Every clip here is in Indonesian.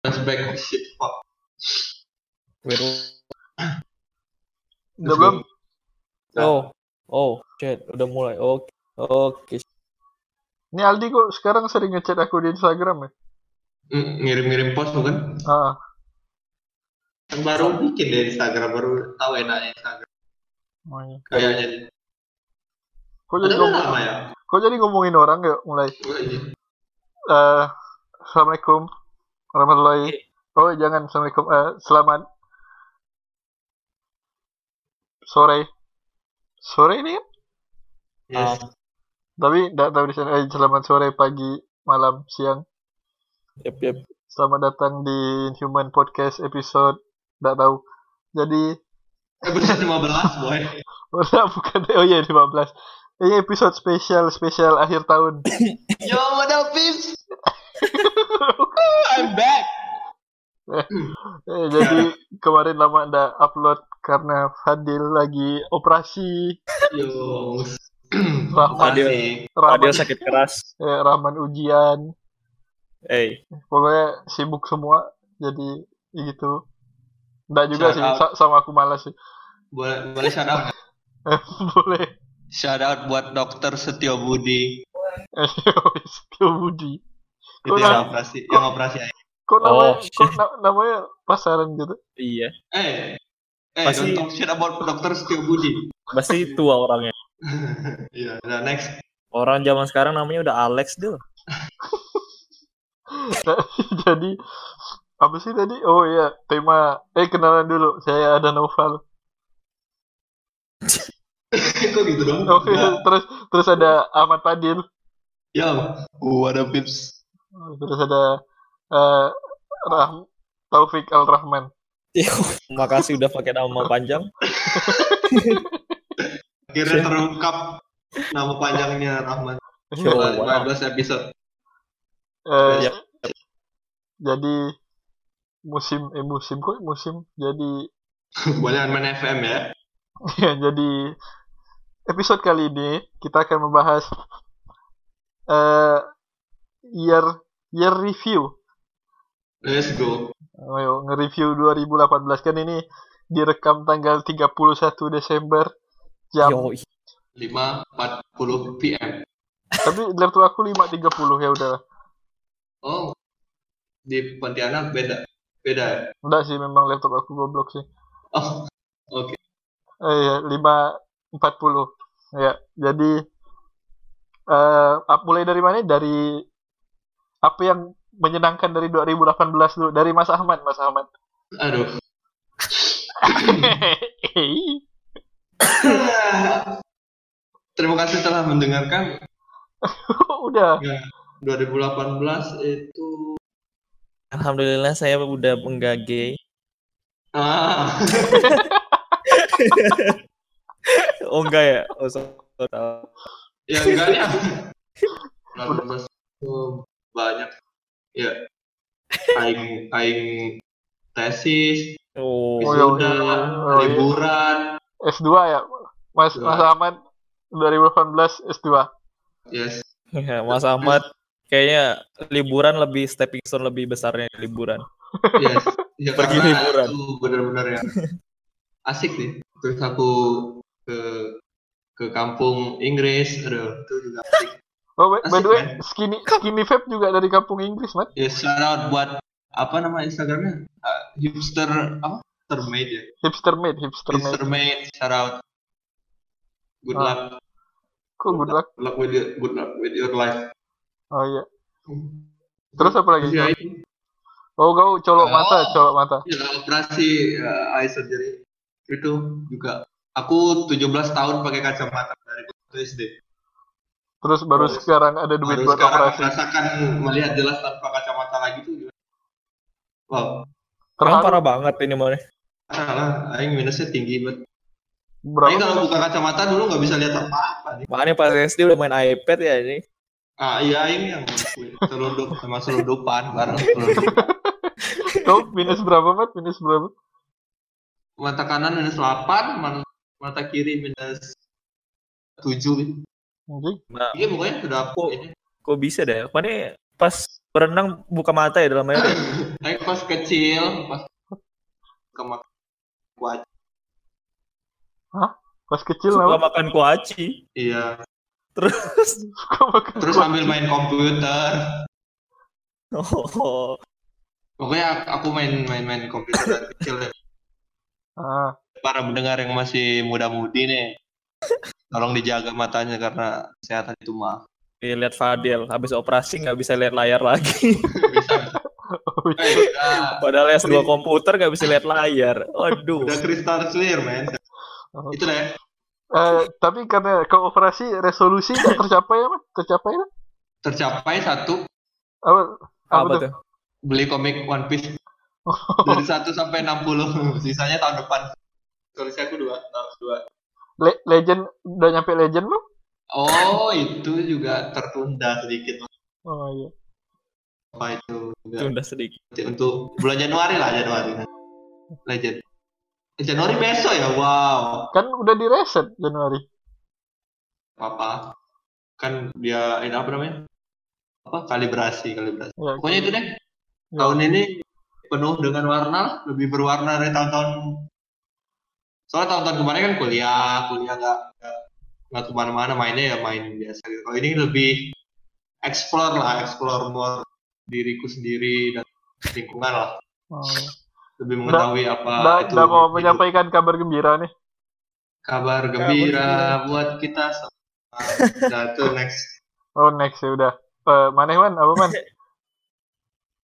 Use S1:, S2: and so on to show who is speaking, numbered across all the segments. S1: That's back this shit, fuck.
S2: Wait,
S3: Udah belum?
S2: oh, oh, shit, udah mulai. Oke, oke.
S3: Ini Aldi kok sekarang sering ngechat aku di Instagram ya?
S1: Mm, Ngirim-ngirim post bukan?
S3: Ah,
S1: Yang baru bikin deh Instagram baru tahu enaknya Instagram.
S3: oh iya.
S1: Kayaknya.
S3: Kok jadi,
S1: Ada
S3: ngomong,
S1: lama ya? iya.
S3: kok jadi ngomongin orang ya mulai?
S1: Gua ini.
S3: Eh, Assalamualaikum warahmatullahi. Oh jangan Assalamualaikum. Eh, selamat sore. Sore ini kan?
S1: Yes.
S2: Um,
S3: Tapi tidak tahu di sana. Eh, selamat sore, pagi, malam, siang.
S2: yep, yep.
S3: Selamat datang di Human Podcast episode tidak tahu. Jadi
S1: Episode 15 boy.
S3: Bukan, bukan. Oh iya 15. Ini episode spesial spesial akhir tahun.
S1: Yo, what up, peeps? I'm back.
S3: Eh, jadi kemarin lama ndak upload karena Fadil lagi operasi.
S1: Yo.
S3: Rahman,
S2: Fadil.
S3: Rahman,
S2: Audio sakit keras.
S3: eh, Rahman ujian.
S2: Eh,
S3: Pokoknya sibuk semua. Jadi ya gitu. Ndak juga
S1: Shout
S3: sih
S1: out.
S3: sa- sama aku malas sih.
S1: Boleh boleh shout out. nggak?
S3: Eh, Boleh.
S1: Shout out buat Dokter Setio Budi.
S3: Eh, wis, Tio Budi.
S1: Itu
S3: Kok
S1: yang
S3: na-
S1: operasi, yang operasi aja.
S3: kok
S2: Oh,
S3: namanya, kok na- namanya pasaran gitu?
S2: iya.
S1: Eh, eh,
S2: Pasti-
S1: don't talk shit about Dokter Setio Budi.
S2: Pasti tua orangnya.
S1: Iya, nah next.
S2: Orang zaman sekarang namanya udah Alex dulu.
S3: jadi apa sih tadi oh iya tema eh kenalan dulu saya ada Noval
S1: Kok gitu dong?
S3: oh, iya. terus terus ada Ahmad Fadil
S1: Yo, what up, peeps?
S3: terus ada eh, Rah- Taufik Al Rahman
S2: Makasih Iya. udah pakai nama panjang.
S1: Akhirnya terungkap nama panjangnya Rahman.
S3: Oh,
S2: Yo, wow.
S1: 15 episode.
S3: Eh,
S2: Iya.
S3: jadi musim eh musim kok musim jadi
S1: Boleh main FM ya.
S3: ya, jadi episode kali ini kita akan membahas eh year year review
S1: Let's go.
S3: Ayo nge-review 2018 kan ini direkam tanggal 31 Desember
S2: Yo,
S3: jam
S1: 5.40 PM.
S3: tapi laptop aku 5.30 ya udah
S1: Oh, di Pontianak beda. Beda ya?
S3: enggak sih memang laptop aku goblok sih
S1: Oh, oke.
S3: eh ya 5.40 ya jadi eh ap- mulai dari mana dari apa yang menyenangkan dari 2018 dulu dari Mas Ahmad Mas Ahmad
S1: Aduh. Terima kasih telah mendengarkan.
S3: udah
S1: 2018 itu
S2: Alhamdulillah saya udah enggak gay.
S1: ah
S2: Oh enggak ya? Oh, so- so tahu.
S1: ya enggak ya. 2018 itu banyak ya aing aing tesis,
S2: Oh,
S3: Oh, iya,
S1: wisuda,
S3: iya, iya.
S1: liburan,
S3: S2 ya Mas
S1: Dua.
S3: Mas Ahmad 2018 S2
S1: yes.
S2: ya, Mas Ahmad kayaknya liburan lebih stepping stone lebih besarnya liburan.
S1: Yes. Ya,
S2: Pergi
S1: karena
S2: liburan.
S1: Itu benar-benar yang asik nih. Terus aku ke ke kampung Inggris, aduh itu juga asik.
S3: Oh, by, by
S1: Asik,
S3: the way,
S1: kan?
S3: skinny skinny vape juga dari kampung Inggris, Mat.
S1: Ya shout out buat apa nama Instagramnya? Ah, hipster apa? Hipster made ya.
S3: Hipster made, hipster made.
S1: Hipster made shout out. Good
S3: Ah.
S1: luck,
S3: Kok good luck?
S1: good luck with your, good luck with your life.
S3: Oh iya. Terus apa lagi?
S1: Ya, ini.
S3: Oh, kau colok
S1: Oh.
S3: mata, colok mata.
S1: Ya, operasi eh, eye surgery itu juga aku 17 tahun pakai kacamata dari SD.
S3: Terus baru
S1: Terus.
S3: sekarang ada duit
S1: Baru
S3: buat
S1: sekarang
S3: operasi.
S1: merasakan melihat jelas tanpa kacamata lagi tuh gimana? Wow,
S2: Emang
S3: Terharu
S2: parah banget ini mana.
S1: alah, aing minusnya tinggi banget.
S3: berapa?
S1: Aing kalau buka kacamata dulu nggak bisa lihat apa-apa nih.
S2: Makanya pas SD udah main iPad ya ini.
S1: Ah iya aing yang ngelakuin. selundup sama selundupan bareng. selundup.
S3: Kau minus berapa, Mat? Minus berapa?
S1: Mata kanan minus 8, man- mata kiri minus 7.
S3: Anjing.
S2: Nah,
S1: Iya pokoknya sudah
S3: Oh.
S1: aku ini.
S2: kok bisa deh? Mana pas berenang buka mata ya dalam air.
S1: Aing pas kecil pas ke mak- kuaci
S3: Pas kecil
S2: Suka
S3: apa?
S2: makan kuaci.
S1: iya
S2: Terus
S3: Suka makan
S1: terus
S3: kuah.
S1: sambil main komputer
S2: oh,
S1: pokoknya aku- aku main main main komputer dari kecil ya.
S3: Ah,
S1: para pendengar yang masih muda-mudi nih tolong dijaga matanya karena kesehatan itu mah
S2: nih, lihat Fadil habis operasi nggak bisa lihat layar lagi.
S1: bisa
S3: oh, iya.
S1: eh, udah,
S2: Padahal S2 komputer nggak bisa lihat layar.
S1: udah
S2: Waduh.
S1: crystal clear man
S3: Oh.
S1: itu deh
S3: Eh, tapi karena kooperasi resolusi nggak tercapai ya, Mas? Tercapai ya?
S1: tercapai satu
S3: Apa? Apa
S2: Apa
S3: tuh?
S2: tuh?
S1: beli komik One Piece dari 1 sampai 60 sisanya tahun depan tulisnya aku dua tahun dua
S3: Le- legend udah nyampe legend belum?
S1: oh itu juga tertunda sedikit
S3: Oh iya.
S1: apa itu juga
S2: Tunda sedikit.
S1: untuk bulan Januari lah Januari kan. legend Eh, Januari besok ya wow
S3: Kan udah di reset Januari.
S1: apa kan dia ini apa namanya apa kalibrasi kalibrasi
S3: Ya,
S1: pokoknya itu deh
S3: Ya.
S1: tahun ini penuh dengan warna lah, lebih berwarna dari tahun-tahun soalnya tahun-tahun kemarin kan kuliah kuliah nggak nggak- nggak kemana-mana mainnya ya main biasa gitu kalau ini lebih explore lah explore more diriku sendiri dan lingkungan lah
S3: Oh.
S1: lebih mengetahui apa
S3: Udah-
S1: Ah, itu
S3: udah mau
S1: hidup.
S3: menyampaikan kabar gembira nih.
S1: kabar gembira buat kita semua nah itu next
S3: Oh next ya udah. Eh, maneh man, apa man?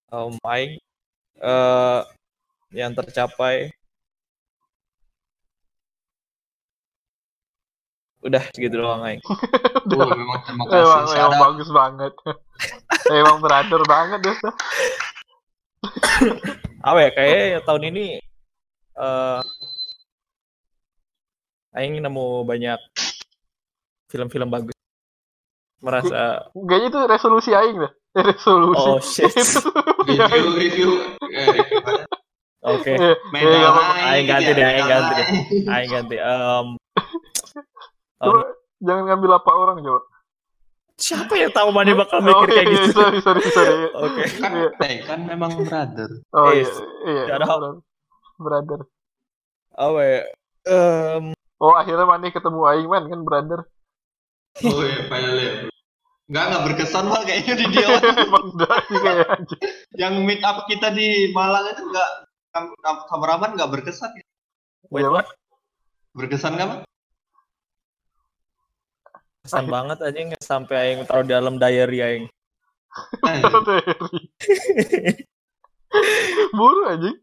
S2: Oh my. Eh, yang tercapai. Udah segitu doang, Aing.
S1: Oh, memang terima
S3: Eh, Emang,
S1: kasih
S3: emang
S1: Sarah.
S3: bagus banget. emang brother banget deh.
S2: Apa ya, kayaknya ya tahun ini eh Aing nemu banyak film-film bagus. Merasa
S3: Kayaknya itu resolusi aing deh. Eh, resolusi.
S2: oh shit.
S1: review review eh, review.
S2: Oke,
S3: Eh,
S1: main
S3: eh,
S1: yang
S3: apa-
S1: lain
S2: Ayo ganti
S1: ya,
S2: deh, ayo
S1: yang
S2: ganti deh.
S1: lain.
S3: Iya.
S2: Aing ganti. Em,
S3: coba jangan ngambil apa orang coba.
S2: siapa yang tahu mana bakal
S3: Oh,
S2: mikir kayak
S3: iya,
S2: gitu?
S3: Sorry, sorry, sorry.
S2: Oke.
S1: kan
S3: Iya.
S1: eh, kan memang brother
S3: Oh
S2: Eh,
S3: iya, iya.
S2: nggak ada hal.
S3: brother. Brother.
S2: Apa ya? Em,
S3: Oh akhirnya Mane ketemu Aing man kan brother.
S1: oh ya padahal ya Enggak, enggak berkesan lah kayaknya di
S2: Iya.
S1: dia.
S3: Emang udah sih kayak anjing.
S1: yang meet up kita di Malang itu enggak kam- kam- kameraman enggak berkesan. ya.
S2: wait,
S3: Iya,
S2: what?
S1: Berkesan enggak, Bang?
S2: Kesan banget anjing sampai aing taruh dalam diary aing.
S1: Eh,
S3: Buru anjing.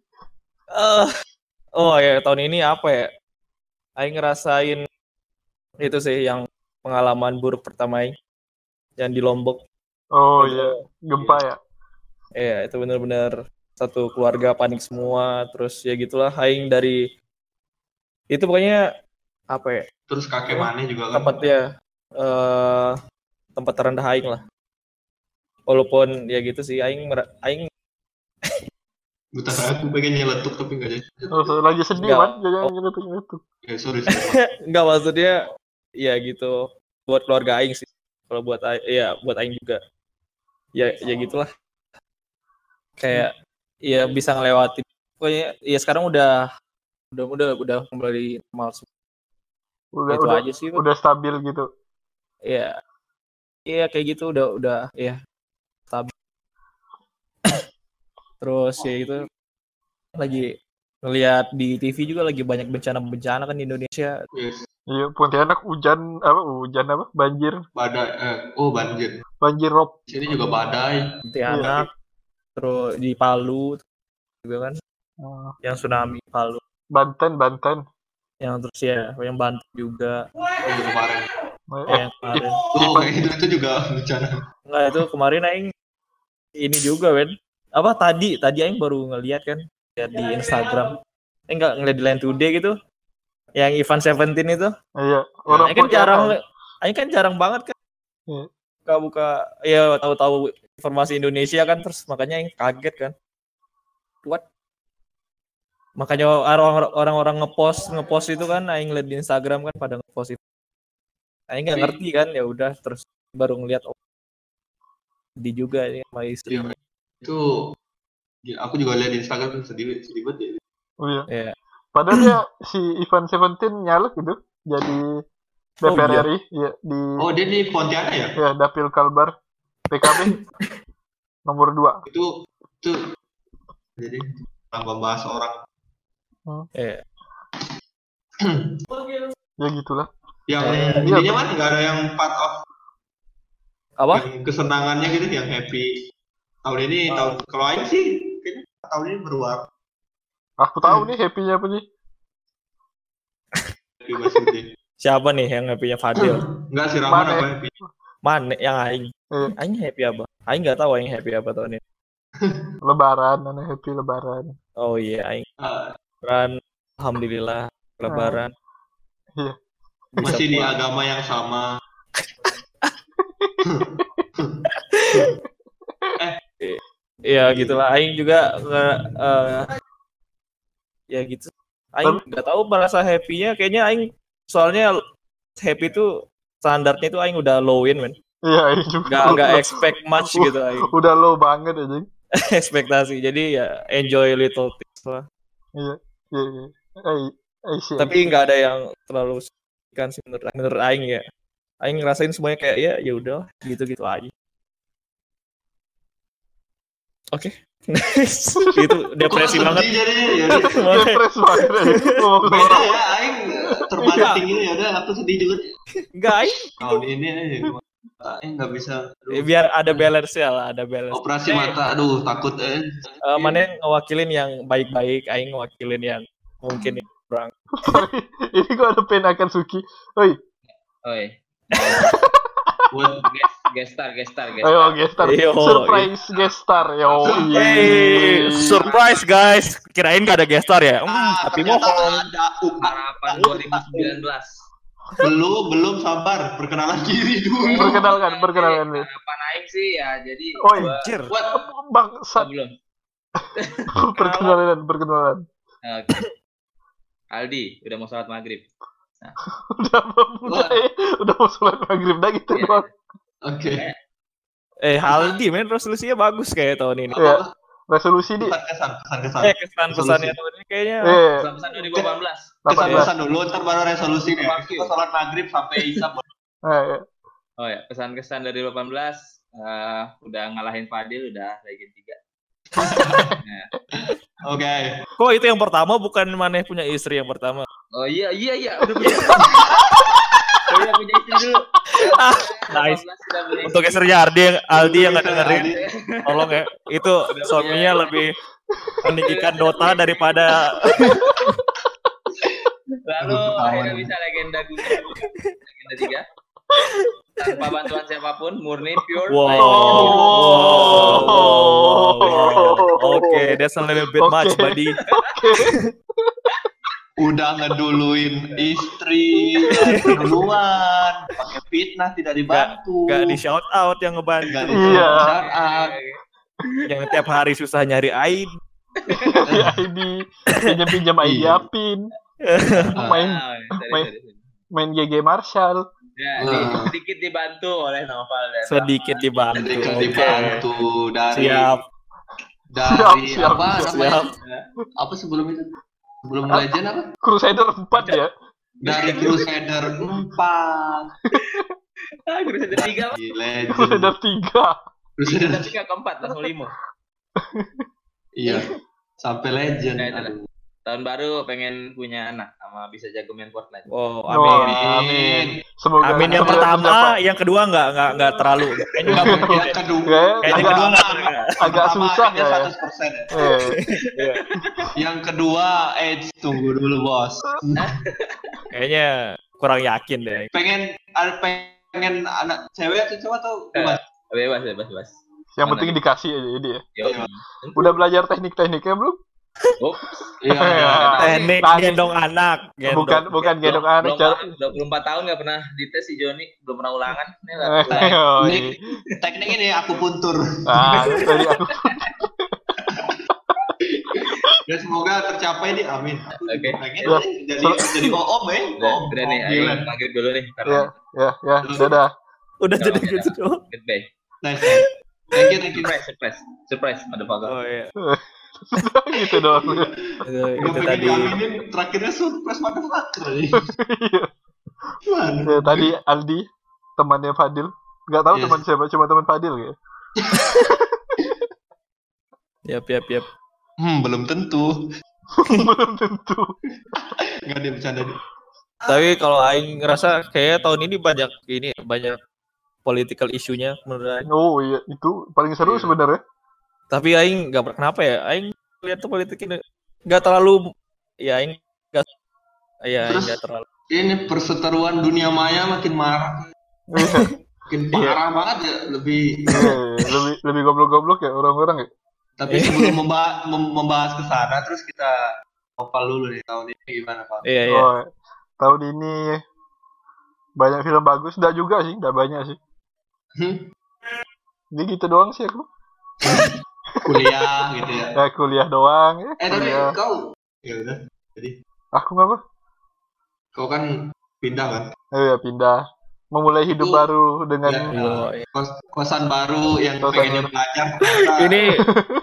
S2: Eh, oh ya tahun ini apa ya? Aing ngerasain itu sih yang pengalaman buruk pertama aing yang di Lombok.
S3: Oh
S2: Itu-
S3: iya, gempa ya.
S2: Iya, itu bener-bener satu keluarga panik semua, terus ya gitulah aing dari itu pokoknya apa ya?
S1: Terus kakek Mane juga kan.
S2: tempat ya eh tempat terendah aing lah walaupun ya gitu sih aing mer- aing
S1: Buta aku pengen nyeletuk tapi enggak jadi.
S3: Oh, lagi sedih
S2: Nggak.
S3: man, jangan nyeretuk-nyeretuk.
S1: Eh, sorry. sorry.
S2: nggak maksudnya ya gitu buat keluarga aing sih kalau buat aing ya buat aing juga ya ya gitulah kayak ya bisa ngelewati pokoknya ya sekarang udah udah udah udah kembali normal semua.
S3: Udah,
S2: itu
S3: udah,
S2: aja sih
S3: udah stabil gitu.
S2: ya iya kayak gitu udah udah ya stabil terus ya itu lagi ngelihat di TV juga lagi banyak bencana-bencana kan di Indonesia
S1: Yes.
S3: Iya, Pontianak hujan apa hujan apa? Banjir,
S1: Badai eh oh banjir.
S3: banjir rob.
S1: Sini juga badai.
S2: Pontianak terus di Palu juga kan
S3: Eh,
S2: yang tsunami Palu
S3: Banten, Banten.
S2: yang terus ya yang Banten juga
S1: Itu kemarin.
S3: Eh,
S2: yang kemarin
S1: Oh, itu, itu juga bencana.
S2: Enggak itu kemarin aing ini juga Wen. Apa tadi tadi aing baru ngeliat kan lihat di Instagram. Eh enggak ngeliat di Line Today gitu. Yang Ivan Seventeen itu.
S3: iya,
S1: Orang
S2: Aing kan jarang aing kan jarang banget kan.
S3: Iya.
S2: Buka buka ya tahu-tahu informasi Indonesia kan terus makanya aing kaget kan. What? Makanya orang- orang-orang ngepost ngepost itu kan aing lihat di Instagram kan pada ngepost itu. Aing nggak
S1: Tapi-
S2: ngerti kan ya udah terus oh, baru ngeliat di juga ini sama istri.
S1: Iya. Itu Gila, aku juga lihat di Instagram sedih sedih banget ya.
S3: Oh iya.
S2: Iya.
S3: Padahal dia si Ivan Seventeen nyalek gitu jadi DPR
S2: iya.
S3: RI ya di
S1: Oh dia di Pontianak ya?
S3: ya Dapil Kalbar PKB nomor 2.
S1: Itu itu jadi tambah bahas orang.
S2: Iya.
S3: Ya gitulah.
S1: Yang
S2: Eh,
S3: iya.
S1: intinya mana nggak ada yang part of
S2: Apa?
S1: yang kesenangannya gitu yang happy tahun ini
S2: Ah.
S1: tahun kalau Aing sih kayaknya tahun ini berwarna
S3: Aku
S2: Hmm.
S3: tahu nih happy-nya apa nih.
S1: happy Mas Yudi.
S2: Siapa nih yang happy-nya Fadil?
S1: Enggak sih Rahman
S3: Mana ya?
S1: apa happy?
S2: Mana yang aing?
S3: Iya.
S2: Aing happy apa? Aing nggak tahu aing happy apa tahun ini.
S3: Lebaran, aneh happy lebaran.
S2: Oh iya, aing
S1: Eh,
S2: lebaran. Alhamdulillah lebaran.
S3: Iya.
S2: Bisa
S1: Ah. masih di
S2: pulang.
S1: agama yang sama.
S2: Iya gitulah. Aing juga nggak, eh, ya gitu. Aing nggak tahu merasa happy-nya kayaknya aing soalnya happy itu standarnya itu aing udah lowin men.
S3: Iya, ini juga.
S2: Nggak nggak expect much gitu aing
S3: Udah low banget ya, aja.
S2: ekspektasi. Jadi ya enjoy little things lah.
S3: Iya, iya. Eh, eh, sih.
S2: Tapi nggak ada yang terlalu kan sih menurut menurut aing ya. Aing ngerasain semuanya kayak ya ya udah gitu-gitu aja. Oke. Next. itu depresi
S1: Kok
S2: banget.
S1: sedih jadinya? Ya udah.
S3: Depres banget. aja. Ngomong ke
S1: Beda
S3: orang.
S1: ya, Aing
S2: Iya.
S1: terbanting ini ya udah aku sedih juga
S2: Enggak, aing
S1: tahun ini aja. Aing nggak bisa
S2: Eh,
S1: aduh,
S2: biar ada balance ya lah ada balance
S1: operasi
S2: Eh,
S1: mata, aduh takut eh.
S2: eh, mana yang ngewakilin yang baik-baik aing ngewakilin yang mungkin ya.
S3: Sorry. Ini kok ada pen akan Suki. Oi,
S4: Oi,
S1: Buat
S4: Oh, iya. guest, guest star, guest star, guest
S3: ayo
S4: star.
S3: guest star.
S2: Yo,
S3: Oh, iya, Surprise guest star. Yo.
S2: hey,
S3: iya.
S2: surprise guys kirain gak ada guest star ya Hmm,
S1: Ah,
S2: tapi
S1: ternyata
S2: mohon
S1: ada Uka.
S4: Harapan 2019.
S1: belum belum sabar perkenalan diri
S2: Eh.
S1: dulu
S3: Perkenalkan, perkenalkan, iya. Wi.
S4: Nah, Harapan Aing sih ya jadi
S3: Oi.
S4: gua-
S2: anjir
S1: buat
S4: oh,
S3: Bangsat.
S4: belum.
S3: Perkenalan, perkenalan.
S4: Nah, oke. Aldi, udah mau sholat maghrib.
S3: Udah udah, udah mau sholat maghrib dah gitu
S4: Iya.
S3: doang.
S1: oke
S2: eh Haldi men resolusinya bagus kayak tahun ini
S3: Iya. Resolusi di
S1: pesan kesan kesan kesan
S2: eh kesan pesannya tahun ini kayaknya
S3: eh
S4: Pesan-pesan 2018.
S1: kesan
S2: ya?
S3: 18.
S1: kesan dulu ntar baru resolusi deh
S4: Thank you.
S1: kita sholat maghrib sampai isya baru
S3: Nah,
S1: Eh.
S3: iya.
S4: Oh ya, pesan-kesan dari 18 eh, udah ngalahin Fadil udah legend 3.
S1: oke
S2: kok itu yang pertama bukan maneh punya istri yang pertama
S4: Oh iya iya iya, udah punya. oh iya punya istri dulu.
S2: nice.
S4: 18 udah punya istri.
S2: untuk istrinya Aldi yang Aldi yang nggak dengerin
S1: Aldi.
S2: tolong ya itu suaminya lebih meninggikan Dota daripada
S4: Lalu
S1: Aduh, ketahuan.
S4: akhirnya bisa legenda Google. legenda tiga. Tanpa bantuan siapapun, murni pure.
S2: Wow.
S4: legend.
S2: Wow. Oke, that's a little bit much,
S3: Oke.
S2: buddy.
S1: udah ngeduluin istri duluan pakai fitnah tidak dibantu
S2: Gak di shout out yang ngebantu,
S1: Nggak
S3: Iya.
S1: shout out.
S2: yang tiap hari susah nyari aib.
S3: Iya, ID pinjam-pinjam ID
S1: Iya.
S3: Apin,
S2: Eh,
S1: Ah.
S3: main
S4: Wow, sorry,
S3: Main.
S4: sorry, sorry.
S3: main GG Marshall.
S4: Ya,
S1: Ah.
S4: di- sedikit dibantu oleh Novel dan
S2: Sedikit dibantu.
S1: Jadi kan
S2: Oke.
S1: dibantu dari
S2: Siap,
S1: dari
S3: Siap, siap,
S1: apa namanya
S2: siap.
S1: apa sebelum itu sebelum legend apa
S3: Crusader 4
S1: Iya.
S3: ya.
S1: dari Crusader 4
S4: Ah, Crusader tiga.
S1: di legend
S3: Crusader 3.
S1: Crusader
S4: Tapi nggak keempat, langsung lima.
S1: Iya. Sampai legend.
S4: Nah, itu lah.
S1: Aduh.
S4: Tahun baru pengen punya anak sama bisa jago main Fortnite.
S2: Wow,
S3: Wah,
S2: amin.
S1: Amin.
S3: Semoga
S2: Amin yang
S3: semoga
S2: pertama,
S3: tercapai.
S2: yang kedua nggak nggak nggak terlalu. Kayaknya nggak mungkin.
S1: Yang kedua.
S3: Kayaknya
S2: Kayaknya yang
S3: agak-
S2: kedua nggak terlalu.
S3: agak
S1: pertama
S3: susah
S1: aja
S3: ya.
S1: 100% ya.
S3: Eh,
S1: Yang kedua, eh tunggu dulu bos.
S2: Kayaknya kurang yakin deh.
S1: Pengen ada pengen anak cewek atau cowok atau
S4: Eh.
S1: gimana?
S4: Bebas, bebas, bebas.
S3: yang
S4: Mana
S3: penting
S4: nih?
S3: dikasih aja ini ya.
S4: Yo.
S1: Iya.
S3: Udah belajar teknik-tekniknya belum?
S4: Oh,
S1: Iya.
S3: Iya.
S1: iya.
S2: Teknik
S3: Nangis.
S2: gendong anak. Gendong.
S3: bukan bukan gendong anak
S4: belum,
S3: cara.
S4: belum 24 tahun nggak pernah dites si Joni, belum pernah ulangan. Ini nggak
S3: Eh,
S4: ulangan.
S3: oh,
S1: Ini
S3: iya.
S1: teknik ini aku puntur.
S3: Ah, tadi aku
S1: Dan Ya, semoga tercapai nih, amin.
S4: Oke.
S1: Pengen
S3: Ya.
S1: nih, jadi jadi om ya.
S4: Udah,
S1: Om,
S4: udah
S1: om
S4: nih, ayo
S1: gila. Iya.
S4: maghrib dulu nih.
S3: ya
S4: Karena
S3: ya ya dadah.
S2: Udah jadi
S4: Nggak
S2: gitu doang.
S4: goodbye.
S1: Nice. Thank you, thank you.
S4: Surprise, surprise, surprise, motherfucker.
S2: Oh iya.
S3: gitu doang.
S2: Itu,
S1: Gak
S2: itu
S1: pengen
S2: tadi.
S1: diaminin, terakhirnya surprise motherfucker. Gimana?
S3: Ya, tadi Aldi temannya Fadil. Gak tahu
S2: Iya.
S1: Yes.
S3: teman siapa, cuma teman Fadil ya.
S2: Yap, yap, yap.
S1: Hmm, belum tentu.
S3: Belum tentu.
S1: Gak ada bercanda. nih.
S2: Tapi kalau Aing ngerasa kayak tahun ini banyak ini ya, banyak political isunya menurut Aing.
S3: Oh iya, itu paling seru
S1: Iya.
S3: sebenarnya.
S2: Tapi Aing nggak pernah kenapa ya. Aing lihat tuh politik ini nggak terlalu. Ya Aing nggak. Ya Aing
S1: Terus?
S2: nggak terlalu.
S1: Ini perseteruan dunia maya makin marah.
S3: Iya,
S1: Makin parah banget ya. Lebih
S3: iya, iya. lebih lebih goblok-goblok ya orang-orang ya.
S1: Tapi
S2: Iya.
S1: sebelum membahas, membahas ke sana, terus kita opal dulu nih tahun ini gimana Pak?
S2: Iya iya.
S3: Oh, tahun ini banyak film bagus, enggak juga sih, enggak banyak sih.
S1: Hmm,
S3: Ini gitu doang sih aku.
S1: kuliah gitu ya.
S3: Ya kuliah doang ya.
S1: Eh tapi
S3: kuliah.
S1: kau, ya udah,
S3: Aku ngapa?
S1: kau kan pindah kan?
S3: Eh ya pindah. Memulai hidup
S1: Itu-
S3: baru dengan
S1: Ya.
S2: Oh, iya.
S1: Kos, kosan baru yang
S3: Kosan
S1: pengen
S3: baru.
S1: belajar ternyata
S2: Ini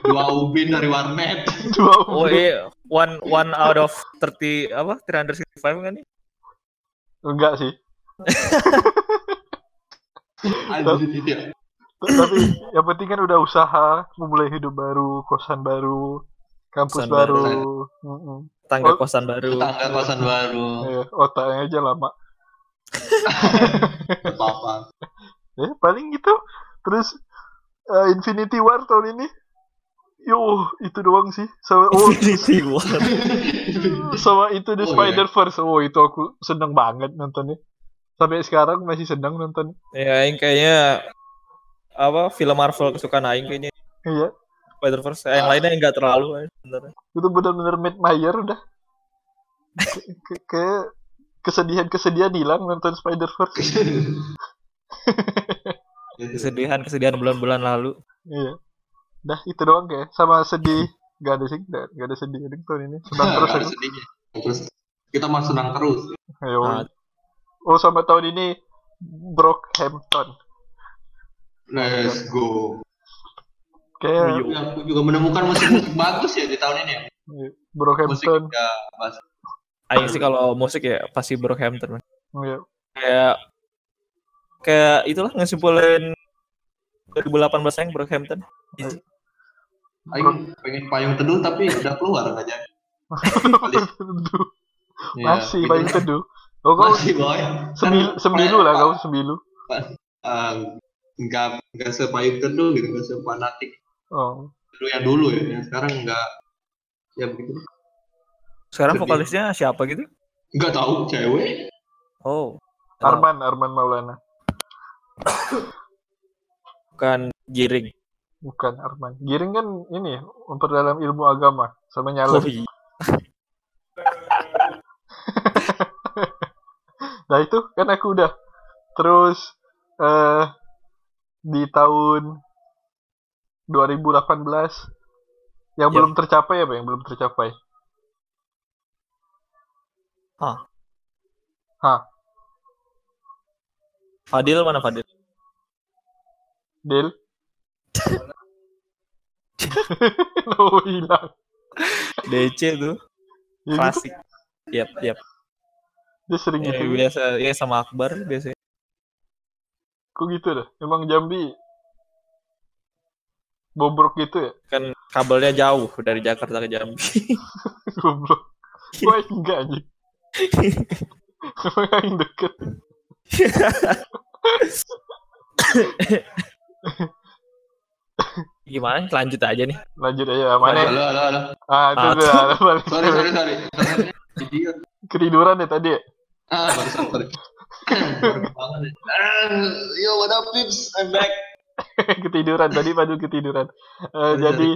S1: dua ubin dari warnet.
S3: dua
S2: oh
S3: umur.
S2: iya, one one out of 30 apa 365 kan nih?
S3: Enggak sih.
S1: Anjir gitu ya.
S3: Tapi yang penting kan udah usaha, memulai hidup baru, kosan baru, kampus
S2: Kosan
S3: baru.
S1: baru.
S3: Mm-mm.
S2: Tangga
S3: Oh.
S2: kosan baru.
S1: Tetangga kosan baru.
S3: Iya, otaknya aja lama.
S1: Gak apa-apa.
S3: Eh, paling gitu. Terus eh, Infinity War tahun ini. Yo, itu doang sih. Sama oh,
S2: Infinity War.
S3: sama itu The
S1: Oh, iya.
S3: Spider Verse. Oh, itu aku seneng banget nontonnya. Sampai sekarang masih seneng nonton.
S2: Ya, aing kayaknya apa film Marvel kesukaan aing kayaknya
S3: Iya,
S2: Spider-Verse. Yang lainnya enggak terlalu eh. aing sebenarnya.
S3: itu benar-benar Matt Mayer udah. Ke, ke- ke- kesedihan-kesedihan hilang nonton Spider Verse.
S2: Kesedihan-kesedihan bulan-bulan lalu.
S3: Iya. Dah itu doang kayak sama sedih. Gak ada sih, gak, gak ada sedih deh tahun ini. Senang
S1: Nah,
S3: terus
S1: ada
S3: aku.
S1: sedihnya. Terus kita mau senang terus.
S3: Ayo.
S1: Ah.
S2: Nah,
S3: Oh sama tahun ini Brockhampton.
S1: Let's go.
S3: Kayak
S2: Oh.
S1: Ya, aku juga menemukan musik-musik bagus ya di tahun ini. ya. Musik
S3: Brockhampton.
S1: ya, bahas
S2: aing sih kalau musik ya pasti Brockhampton. man.
S3: Iya.
S2: Kayak kayak itulah ngesimpulin 2018 yang Brockhampton.
S1: Aing pengen payung teduh tapi udah keluar nggak jadi.
S3: Teduh.
S1: Ya,
S3: Masih
S1: gitu.
S3: paling teduh. Oh kau
S1: Masih Kan boy.
S3: sembilu, sembilu lah kau sembilu.
S1: Eh, Nggak nggak sepayung teduh gitu, nggak sepanatik
S3: Oh.
S1: teduh yang dulu ya. Yang sekarang nggak ya begitu.
S2: Sekarang
S1: Sedih.
S2: vokalisnya siapa gitu?
S1: Nggak tahu cewek.
S2: Oh,
S1: Ah.
S3: Arman, Arman Maulana.
S2: bukan Giring.
S3: Bukan Arman. Giring kan ini memperdalam ilmu agama
S2: Oh,
S3: sama nyala.
S2: iya.
S3: Nah itu kan aku udah. Terus eh di tahun 2018 yang
S1: Iya.
S2: Yap.
S3: belum tercapai apa yang belum tercapai?
S2: Fadil mana Fadil?
S3: Del. Lo hilang.
S2: DC tuh
S3: Oh, Ya gitu,
S2: klasik. Yap, yap.
S3: dia sering
S2: Ya,
S3: gitu.
S2: biasa ya sama Akbar biasanya.
S3: Kok gitu dah? Emang Jambi bobrok gitu ya?
S2: Kan kabelnya jauh dari Jakarta ke Jambi.
S3: Goblok. Gue enggak anjing. Emang yang deket.
S2: Gimana? Lanjut aja nih.
S3: Lanjut aja. Mana?
S1: Halo halo halo.
S3: Ah, itu
S2: Ah,
S3: udah. balik.
S1: Sorry sorry sorry. Sorry, Idiot.
S3: Ketiduran ya tadi ya?
S1: Ah, barusan sorry. Baru bangun ya. Ah, Yo, what up, Pips? I'm back.
S3: ketiduran. Tadi padu ketiduran. Eh,
S1: Sorry,
S3: jadi,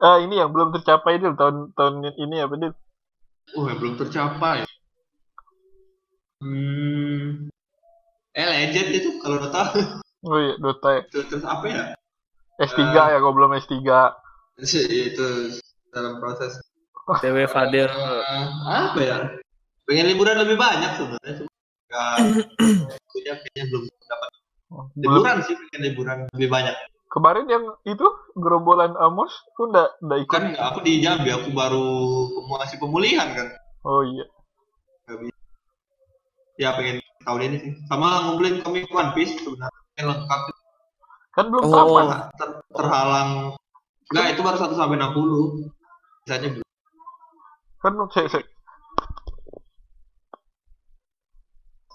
S1: sorry.
S3: ah, ini yang belum tercapai Dil. Tahun, tahun ini apa Dil?
S1: Uh, yang belum tercapai. Hmm. Eh, legend itu kalau udah tahu.
S3: Oh iya, Dota ya.
S1: Terus- Terus apa ya?
S3: S3
S1: Eh.
S3: ya, kok belum S3.
S1: Sih, itu dalam proses
S2: TW Fadil.
S1: Eh, apa ya pengen liburan lebih banyak sebenarnya cuma nggak waktunya kayaknya belum dapat
S3: Oh, Belum,
S1: liburan sih pengen liburan lebih banyak
S3: Kemarin yang itu gerombolan Amos lu ndak ndak ikut.
S1: Kan aku di Jambi, aku baru masih pemulihan kan.
S3: Oh iya.
S1: Ya pengen tahun ini sih. Sama ngumpulin komik One Piece sebenarnya Pengen lengkap.
S3: Kan belum
S2: Oh.
S3: tamat.
S1: Ter- terhalang. Enggak, itu baru 1 sampai 60. Misalnya belum.
S3: Kan belum cek cek.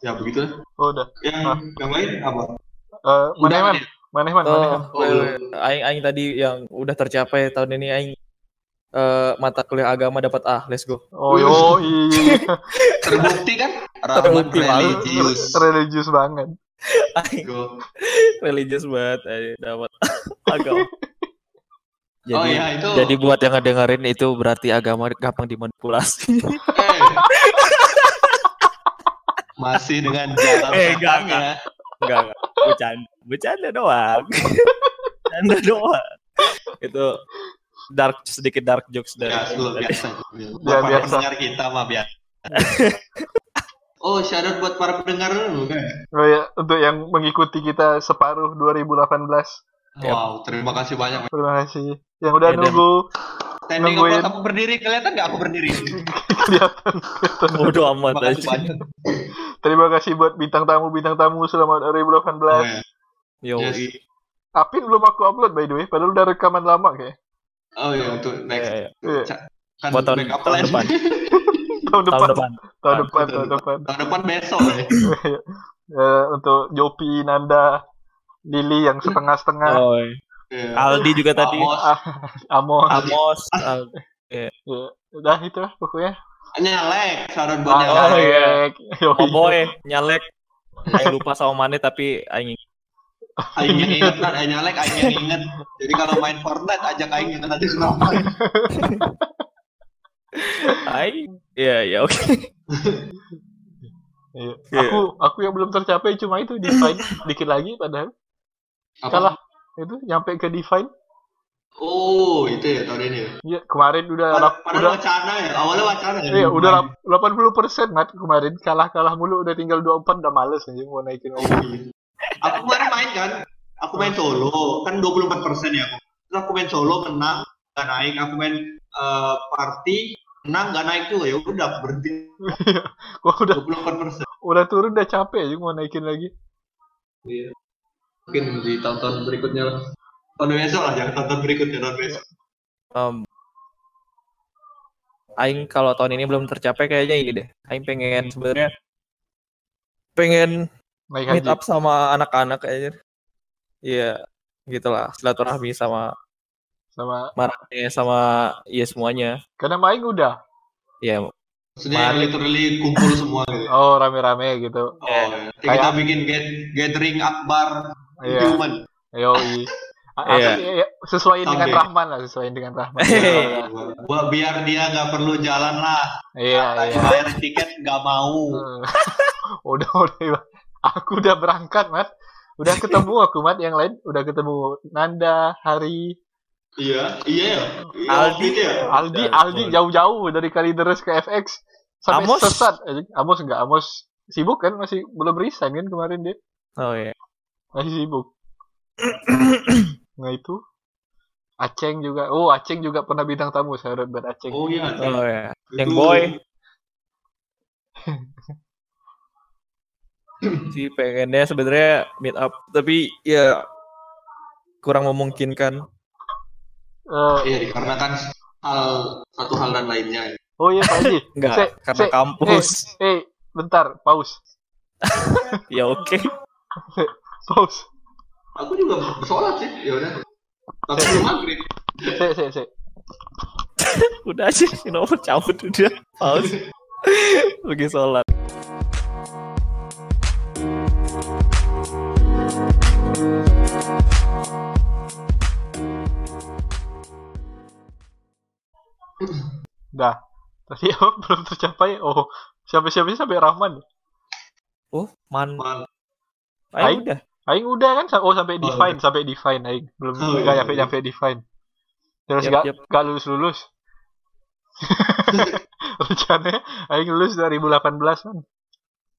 S1: Ya begitu lah.
S3: Oh udah.
S1: Yang
S3: Ah.
S1: yang lain apa?
S3: Eh
S1: Udah,
S3: maneman,
S1: Nen.
S3: maneman, maneman.
S2: Oh, aing aing tadi yang udah tercapai tahun ini aing eh, mata kuliah agama dapat A, let's go.
S3: Oh yoi.
S1: Terbukti kan? Rahmat
S2: Terbukti, Bang.
S1: religius.
S3: religius banget.
S2: Aing
S1: Go. Oh,
S2: religious banget aing dapat agama. Jadi,
S1: Oh iya, itu.
S2: jadi buat yang ngedengerin itu berarti agama gampang dimanipulasi.
S1: Eh. Masih dengan jalan
S2: Eh, enggak,
S1: belakang
S2: enggak.
S1: ya.
S2: Enggak, enggak. Bercanda. Bercanda doang. Bercanda doang. Itu dark sedikit dark jokes dari.
S1: Ya, lu biasa.
S3: Ya,
S1: Buat para
S3: biasa.
S1: pendengar kita mah biasa. Oh, syarat buat para pendengar lu kan.
S3: Oh ya, untuk yang mengikuti kita separuh 2018.
S2: Yap.
S1: Wow, terima kasih banyak.
S3: Terima kasih. Yang udah
S2: Ya, dan-
S3: nunggu
S1: Standing
S3: Nungguin.
S1: apa aku berdiri kelihatan nggak aku berdiri?
S3: kelihatan.
S2: Bodoh amat
S1: Terima kasih
S2: aja.
S1: banyak.
S3: Terima kasih buat bintang tamu bintang tamu selama 2018.
S1: Oh, ya.
S2: Yo,
S1: Yes.
S2: i-
S3: Apin belum aku upload by the way, padahal udah rekaman lama kayak.
S1: Oh iya untuk next
S2: iya, iya.
S3: Iya,
S1: kan
S2: Buat tahun,
S1: backup
S2: tahun
S1: plan.
S2: depan.
S3: tahun
S2: tahun depan.
S3: depan, tahun depan, tahun
S1: Tahun
S3: depan.
S1: Tahun depan besok. ya.
S3: Eh, untuk Jopi, Nanda, Lili yang setengah-setengah, Ah,
S2: Oh,
S1: Iya.
S2: Aldi juga tadi.
S1: Amos.
S3: Amos.
S2: Amos. Al-
S3: Udah itu lah pokoknya.
S1: Nyalek, syarat buat nyalek.
S2: Oh, iya.
S3: Alek, Yoi.
S2: Oboe, nyalek. Aing lupa sama Mane tapi aing ingat.
S1: Aing yang inget kan, aing nyalek, aing yang inget. Jadi kalau main Fortnite ajak aing yang nanti kenapa?
S2: aing. Iya, iya oke.
S3: Iya.
S2: Iya.
S3: Aku aku yang belum tercapai cuma itu define dikit lagi padahal
S1: Apa?
S3: kalah itu nyampe ke define.
S1: Oh, itu ya tahun ini. ya.
S3: Iya, kemarin udah lap-
S1: Padahal
S3: udah
S1: wacana ya, awalnya wacana ya.
S3: Iya, udah lap- 80% Mat kemarin kalah-kalah mulu udah tinggal 24 udah males anjing mau naikin lagi.
S1: Aku kemarin main kan, aku main solo, kan 24 persen ya aku. Terus aku main solo menang, gak naik. Aku main eh, party menang, gak naik juga. Ya udah aku berhenti
S3: Wah, udah
S1: 24 persen.
S3: udah turun udah capek anjing mau naikin lagi.
S1: Mungkin di tahun-tahun berikutnya lah. Tahun besok lah, jangan tahun berikutnya tahun besok.
S2: Em, aing kalau tahun ini belum tercapai kayaknya ini deh. Aing pengen sebenarnya pengen
S3: Naik
S2: meet
S3: haji.
S2: up sama anak-anak aja. Iya, gitulah silaturahmi sama
S3: Sama
S2: Marane sama ya semuanya.
S3: karena main udah.
S2: Iya,
S1: Maksudnya yang literally kumpul semua gitu.
S3: Oh, rame-rame gitu.
S1: Oh, ya. Nanti kita
S3: Kayak-
S1: bikin get- gathering akbar
S3: Iya.
S1: human.
S3: Yoi. A-
S2: Iya.
S3: apa- iya, iya. Sesuaiin dengan
S1: Sampai.
S3: Rahman lah, sesuaiin dengan Rahman.
S2: Iya.
S1: Buat biar dia nggak perlu jalan lah.
S3: Iya, iya.
S1: Bayar tiket nggak mau.
S3: Hmm. udah udah iya. aku udah berangkat mat udah ketemu aku mat yang lain udah ketemu Nanda Hari
S1: Iya, iya ya. Iya,
S2: Aldi.
S1: gitu ya.
S3: Aldi
S2: Udah,
S3: Aldi
S2: udah.
S3: jauh-jauh dari Kalideres ke FX sampai
S2: Amos?
S3: sesat anjing. Amos enggak Amos sibuk kan masih belum resign kan kemarin dia
S2: oh iya.
S3: masih sibuk nah itu Aceng juga oh Aceng juga pernah bintang tamu saya buat Aceng
S1: Oh iya.
S2: Oh iya.
S1: Itu-
S2: Yang boy. Si pengennya sebenarnya meet up tapi ya kurang memungkinkan. Oh.
S3: Eh,
S1: Iya, dikarenakan hal satu hal dan lainnya. ya.
S3: oh iya Pak Haji
S2: Enggak,
S3: Sek,
S2: karena
S3: sek,
S2: kampus.
S3: eh bentar pause
S2: Ya oke.
S3: pause
S1: Aku juga sholat sih, ya udah. Tapi belum maghrib.
S3: sek sek sek
S2: Udah aja si nomor cabut udah. Paus. Pergi sholat.
S3: Dah. Tadi apa belum tercapai? Oh, siapa-siapanya sampai Rahman.
S2: Oh, man.
S1: Man.
S2: Ayo udah.
S3: Aing udah kan? Sa- Oh, sampai
S1: Oh,
S3: define, sampai define aing. Belum
S1: Oh,
S3: enggak
S1: iya,
S3: nyampe
S1: iya.
S3: nyampe define.
S2: Yap,
S3: Terus enggak
S2: yap.
S3: enggak lulus-lulus. Rencananya aing lulus 2018 kan.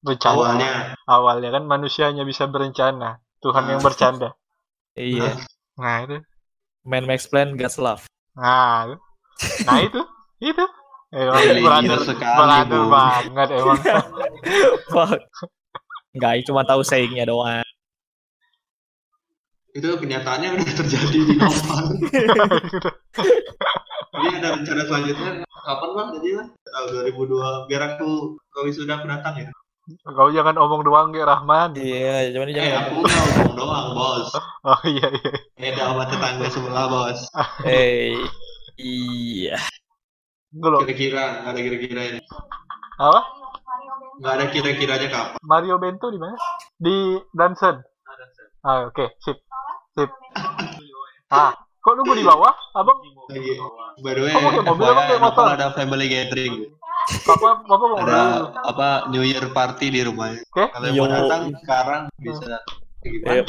S3: Rencana
S1: Awalnya.
S3: awalnya kan manusia hanya bisa berencana. Tuhan yang
S1: Ah.
S3: bercanda.
S2: Iya.
S3: Nah itu.
S2: Man Max Plan God's Love.
S3: Nah, itu. nah itu. itu. Emang
S1: Gila
S3: beratur,
S1: sekali,
S3: beratur
S1: Bu.
S3: banget emang.
S2: Fuck. Enggak, cuma tahu sayingnya doang.
S1: itu kenyataannya udah terjadi di Novan. Jadi ada rencana selanjutnya kapan bang? Jadi Bang? Tahun 2002 biar aku kau sudah aku datang ya.
S3: Kau jangan omong doang kayak Rahman.
S2: Iya, cuman
S1: Eh
S2: jangan.
S1: aku nggak ngomong doang bos.
S3: Oh iya iya.
S1: Beda sama tetangga sebelah bos.
S2: Eh, iya.
S3: Itu loh.
S1: Kira-kira nggak ada kira-kira ini.
S3: Apa?
S1: Nggak ada kira-kiranya kapan.
S3: Mario Bento di mana? Di Danson. Ah, oke, sip. Sip. Ah, kok nunggu di bawah? Abang,
S1: Lagi. Iya.
S2: Iya.
S1: By the way,
S3: Kamu pakai mobil apa
S1: FYI,
S3: pakai motor?
S1: Novel ada family gathering.
S3: Bapak, Bapak mau
S1: Ada
S3: beli.
S1: apa New Year party di rumahnya.
S3: Oke.
S1: Kalau yang mau
S2: Yo.
S1: datang sekarang bisa datang. Gimana?
S2: Yep.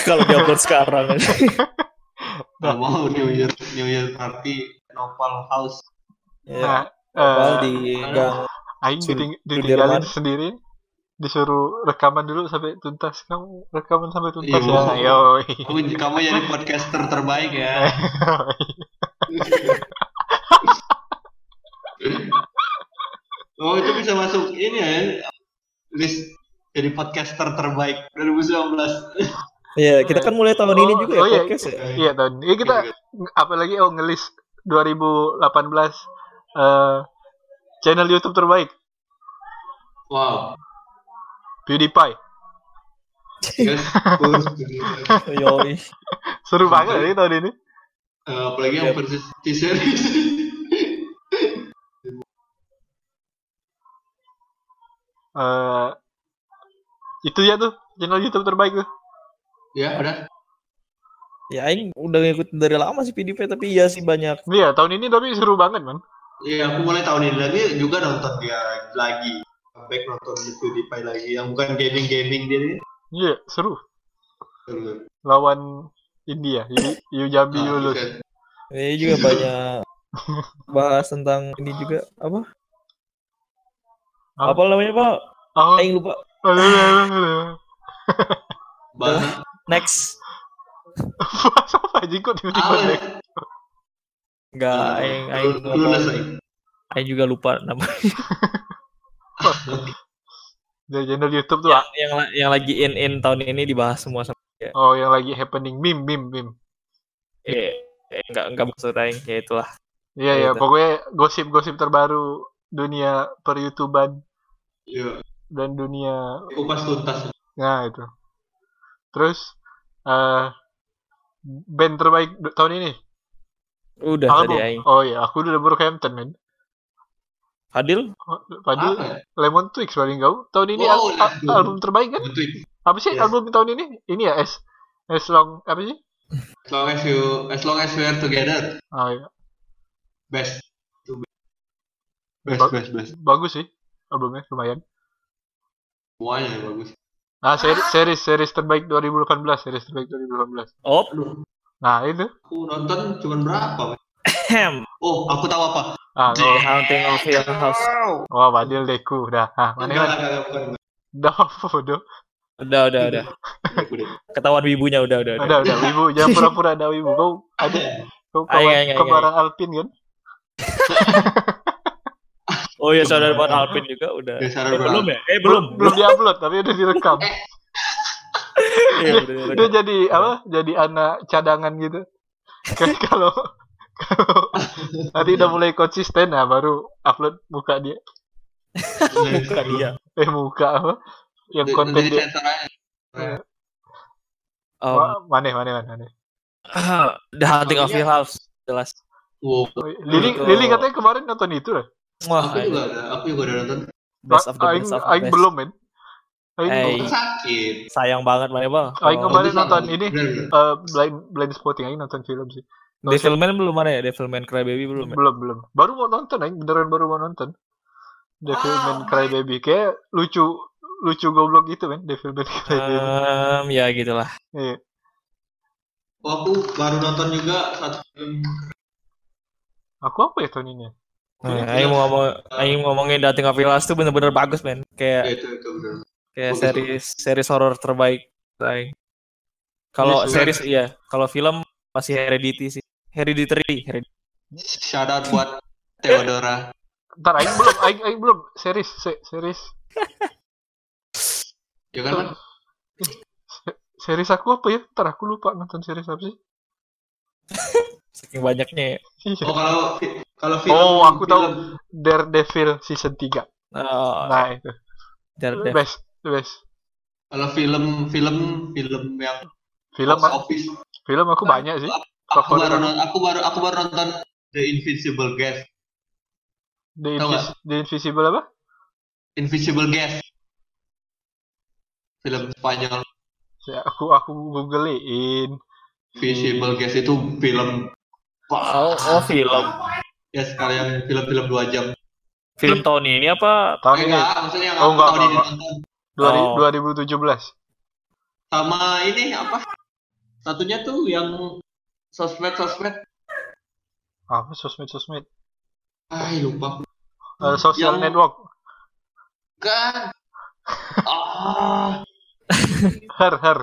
S2: Kalau diupload sekarang.
S1: Kalau mau New Year New Year party Novel House
S3: Nah,
S2: Iya.
S3: eh,
S2: Awal di gang.
S3: Aing
S2: Sud-
S3: diting-
S2: Sudirman.
S3: ditinggalin sendiri disuruh rekaman dulu sampai tuntas kamu rekaman sampai tuntas
S1: Iya.
S3: ya yo
S1: Kamu, kamu jadi podcaster terbaik ya. Oh itu bisa masuk ini ya list jadi podcaster terbaik 2019.
S2: Iya, kita kan mulai tahun ini juga ya
S3: Oh, iya.
S2: podcast ya.
S3: iya tahun ini kita apalagi oh ngelis 2018 eh, channel YouTube terbaik
S1: Wow.
S3: PewDiePie
S1: Yes. Terus,
S2: Yoi.
S3: seru banget ini tahun ini
S1: eh, apalagi
S2: Iya.
S1: yang versi series.
S3: Eh, itu ya tuh channel YouTube terbaik tuh
S1: ya udah.
S2: Ya aing udah ngikut dari lama sih PDP tapi ya sih banyak.
S3: iya tahun ini tapi seru banget man
S1: Iya aku mulai tahun ini lagi juga nonton dia lagi. Back nonton di PewDiePie lagi yang bukan gaming gaming dia. nih.
S3: iya seru
S1: Terus.
S3: lawan India Yu, Yu Jambi
S1: Ah,
S3: Yulus
S1: bisa.
S2: Ini Iya juga banyak bahas tentang ini juga apa?
S3: Apa?
S2: Apa namanya, Pak?
S3: oh,
S2: Aing lupa.
S1: Bahasa
S2: Next.
S3: bahasa apa aja kok tiba-tiba
S1: Alan.
S3: deh?
S2: Enggak, Ah, aing aing
S1: Iya. Lu- lu
S2: lupa.
S1: ya? lulus Aing.
S2: Aing juga lupa nama
S3: dari channel YouTube tuh ah.
S2: yang yang, la- yang lagi in in tahun ini dibahas semua sama
S3: Oh, yang lagi happening meme meme meme.
S1: Iya.
S2: eh, eh, enggak enggak maksud aing ya itulah.
S3: Iya
S2: Iya,
S3: ya,
S2: tuh.
S3: pokoknya gosip-gosip terbaru dunia peryoutuban
S1: Iya.
S3: dan dunia
S1: Kupas tuntas.
S3: nah itu. Terus eh band terbaik du- tahun ini
S2: Udah tadi
S3: album.
S2: aing.
S3: Oh iya, aku udah Brookhampton men.
S2: Fadil
S3: Padahal
S2: Ah.
S1: Apa? ya?
S3: Lemon Twigs paling kau. Tahun ini
S1: Wow,
S3: al- a-
S1: Lemon.
S3: album terbaik kan?
S1: Bentuk.
S3: Apa sih
S1: Yes.
S3: album tahun ini? Ini ya S S Long apa sih?
S1: As long as you, as long as we're together,
S3: Oh iya,
S1: best. Itu best. Best, best, best.
S3: bagus sih albumnya lumayan.
S1: Semuanya bagus.
S3: Nah, seri, series series terbaik 2018, series terbaik 2018.
S2: op.
S1: Aduh,
S3: Nah, itu.
S1: aku nonton cuman berapa? Bang?
S2: Ahem.
S1: Oh, aku tahu apa.
S3: Ah, oh.
S2: Haunting of Hill House.
S3: Wah, Fadil Deku udah. Ah,
S1: Enggak,
S3: mana lah.
S1: enggak, enggak, bukan.
S3: Udah bodoh.
S2: Udah udah udah.
S1: Iya. Aku deh.
S2: Ketahuan wibunya udah udah. udah.
S3: Udah, udah wibu, jangan pura-pura ada wibu. Kau ada kau
S2: Ayo, ayo,
S3: kawan
S2: ayo,
S3: kembaran Alpin kan?
S2: Oh ya saudara buat Alpin juga udah.
S1: Ya, saudara
S2: Eh,
S1: Bang.
S2: belum ya? Eh belum.
S3: Belum diupload tapi udah direkam.
S2: Iya, udah, udah,
S3: Dia
S2: udah.
S3: jadi apa? Jadi anak cadangan gitu. Kayak kalau kalau nanti udah mulai konsisten nah baru upload muka dia.
S2: Buka dia.
S3: Eh muka apa? Yang
S1: Udah-
S3: konten
S1: udah
S3: dia.
S1: disensor aja.
S2: Um,
S3: Wah, Mana mana mana. mana.
S2: The Haunting of Hill House jelas.
S1: Wow,
S3: Oh, Lili,
S2: Itu-
S3: Lili katanya kemarin nonton itu lah. Ah.
S2: Wah,
S1: aku juga ada, aku juga udah nonton.
S2: best of the
S3: Aing,
S2: best of the
S3: Aing
S2: best.
S3: belum men. Aing
S2: Eh,
S3: belum.
S1: Aku sakit.
S2: Sayang banget mana bang. Oh,
S3: Aing
S2: Kalau-
S3: kemarin
S1: Aku sakit.
S3: nonton ini.
S1: Bener, bener.
S3: Eh, blind blind spotting aja nonton film sih. Nonton-
S2: Devilman belum mana ya? Devilman Crybaby belum ya?
S3: belum belum. Baru mau nonton aja beneran baru mau nonton.
S2: Ah.
S3: Devilman Crybaby kayak lucu lucu goblok gitu kan Devilman Crybaby.
S2: Um, ya gitulah.
S3: Iya.
S1: Oh, aku baru nonton juga satu film
S3: Aku apa ya tahun ini?
S2: Nah, Aing mau ngomong,
S1: eh,
S2: Aing mau ngomongin Dating of Hill House tuh bener-bener bagus men. Kayak Iya,
S1: Ya, itu itu bener.
S2: kayak
S1: Bagus,
S2: series series horor terbaik Aing. Kalau
S3: Yes,
S2: series iya, kalau film masih Heredity sih. Hereditary, Hereditary.
S1: Shout out buat Theodora.
S3: Ntar aing belum, aing aing belum series, se- series.
S1: Ya kan? Man?
S3: Series aku apa ya? Ntar aku lupa nonton series apa sih.
S2: Saking banyaknya. ya.
S1: Oh
S3: Iya.
S1: kalau kalau film
S3: Oh, aku tahu.
S1: film.
S3: Daredevil season 3.
S1: Oh.
S2: Nah,
S3: Nah, itu. The
S2: Daredevil.
S3: best, the best.
S1: Kalau film film film yang
S3: Film
S1: box office
S3: film aku banyak sih.
S1: aku
S3: Favorit
S1: baru
S3: aku.
S1: nonton, aku baru aku baru nonton The Invisible Guest.
S3: The,
S1: Tau
S3: Invis- The Invisible apa?
S1: Invisible Guest. Film Spanyol
S3: Ya, aku aku googlein.
S1: Invisible Guest itu film
S2: Oh, oh, film.
S1: ya sekalian film-film dua jam.
S2: Film tahun ini apa?
S3: Tahun
S1: Eh,
S3: ini
S1: enggak, maksudnya yang
S3: Oh,
S1: aku
S3: enggak,
S1: tahun ini
S3: enggak,
S1: nonton
S3: dua-
S2: Oh.
S3: 2017.
S1: sama ini apa? Satunya tuh yang sosmed sosmed.
S3: Apa sosmed sosmed?
S1: Ay lupa.
S3: Eh, social
S1: Hmm. Yang-
S3: network.
S1: Kan. ah,
S3: Her her.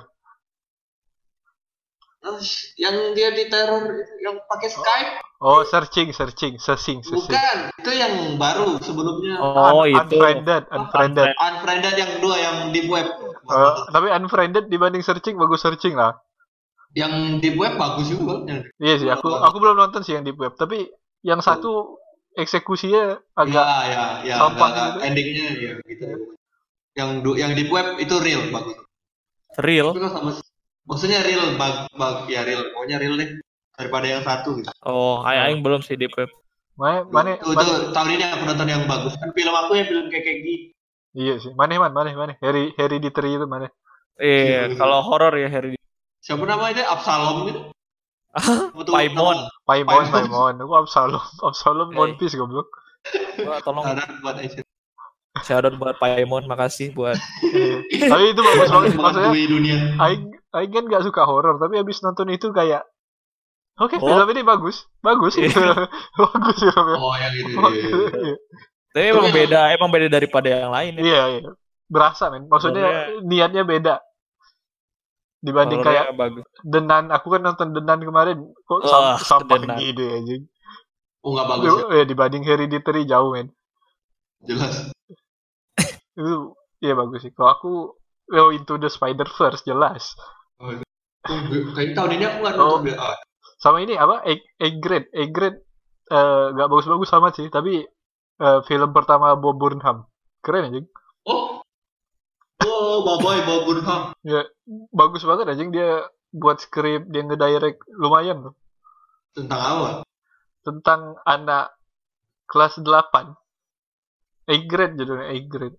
S1: terus yang dia diteror yang pakai Skype
S3: Oh, searching searching, searching searching.
S1: bukan itu yang baru sebelumnya
S2: Oh,
S3: Un-
S2: itu.
S3: Unfriended, unfriended.
S1: unfriended yang dua yang di web
S3: Eh, tapi unfriended dibanding searching bagus searching lah.
S1: yang di web bagus juga yang
S3: Iya sih, aku aku belum nonton sih yang di web, tapi yang satu eksekusinya
S1: ya
S3: agak
S1: ya ya
S3: Sampah
S1: enggak,
S3: gitu.
S1: endingnya ya gitu yang du, yang di web itu real bagus
S2: Real.
S1: tapi kalau kan sama maksudnya real bag, bag ya real pokoknya real deh daripada yang satu gitu.
S2: Oh, aing aing belum sih Deep Web.
S3: mana mana
S1: Tuh, tuh, tahun ini aku nonton yang bagus kan film aku yang film kayak kayak gini
S3: iya sih. Mana man, mana mana Harry Harry Ditri itu mana?
S2: Iya, kalau horor ya Hereditary.
S1: siapa namanya Absalom gitu Betul,
S2: Paimon.
S1: nama.
S3: Paimon,
S1: Paimon.
S3: Paimon. Aku Absalom, Absalom
S2: Hey.
S3: One Piece goblok.
S2: Wah, tolong
S1: Sadar buat Aisyah.
S2: shout out buat Paimon, makasih buat
S3: Iya. tapi itu bagus banget maksudnya.
S1: Mengakui dunia.
S3: Aing Aing kan gak suka horor, tapi abis nonton itu kayak Oke,
S2: Oh.
S3: film ini bagus, bagus,
S2: Iya.
S3: bagus filmnya.
S1: Oh yang itu.
S3: Bagus, iya.
S2: Tapi emang beda, emang beda daripada yang lain ya.
S3: Iya, iya. Berasa men. Maksudnya niatnya beda. Dibanding kayak
S2: Horornya bagus.
S3: Denan, aku kan nonton Denan kemarin. Kok
S2: Wah,
S3: sam sampah
S2: Denan.
S3: gitu anjing.
S1: Oh nggak bagus ya,
S3: Ya, dibanding Hereditary jauh men.
S1: jelas.
S3: Itu iya bagus sih. Kalau aku Well into the Spider Verse jelas.
S1: Oh, gue- Kayaknya tahun ini aku nggak
S3: Oh.
S1: nonton. Oh.
S3: Sama ini apa? A, A grade, A grade eh, nggak bagus-bagus sama sih, tapi eh, film pertama Bob Burnham keren anjing.
S1: Oh. Oh, baboy, baboy Burnham.
S3: Ya bagus banget anjing dia buat skrip, dia ngedirect lumayan loh.
S1: Tentang apa?
S3: tentang anak kelas 8 A grade judulnya A grade.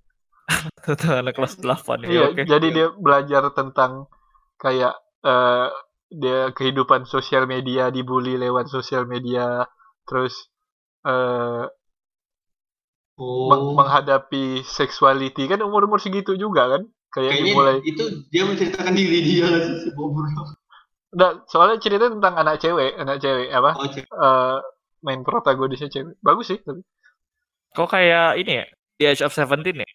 S2: Anak kelas 8
S3: Iya,
S2: ya. Oke.
S3: jadi dia belajar tentang kayak eh, dia kehidupan sosial media dibully lewat sosial media, terus eh,
S1: Oh.
S3: meng- menghadapi sexuality kan umur umur segitu juga kan, kayak
S1: Kayaknya
S3: dimulai.
S1: itu dia menceritakan diri dia nggak sih si Bob Burnham.
S3: Nah, soalnya cerita tentang anak cewek, anak cewek apa
S1: Oh, cek.
S3: eh, main protagonisnya cewek, bagus sih tapi
S2: Kok kayak ini ya? The Age of 17
S3: Iya.
S2: ya?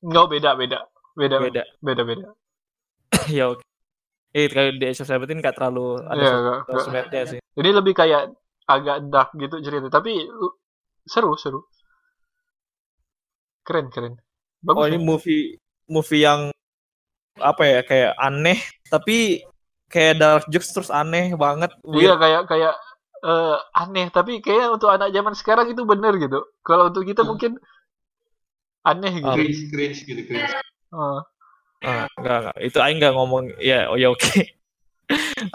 S3: nggak beda beda beda beda
S2: Beda.
S3: beda beda.
S2: ya oke. Eh, kalau The Age of 17 nggak terlalu ada
S3: Iya,
S2: yeah,
S3: nggak- nggak-
S2: sosmednya sih.
S3: Ini lebih kayak agak dark gitu cerita, tapi lu- seru, seru. Keren, keren. Bagus.
S2: Oh, ini
S3: ya?
S2: movie movie yang apa ya kayak aneh tapi kayak dark jokes terus aneh banget.
S3: Iya
S2: Weird.
S3: kayak kayak eh, aneh, tapi kayak untuk anak zaman sekarang itu bener gitu. Kalau untuk kita
S1: Hmm.
S3: mungkin aneh gitu.
S1: Cringe, cringe gitu, cringe.
S3: Eh,
S2: Ah, nggak, nggak. Itu aing nggak ngomong ya oh ya oke.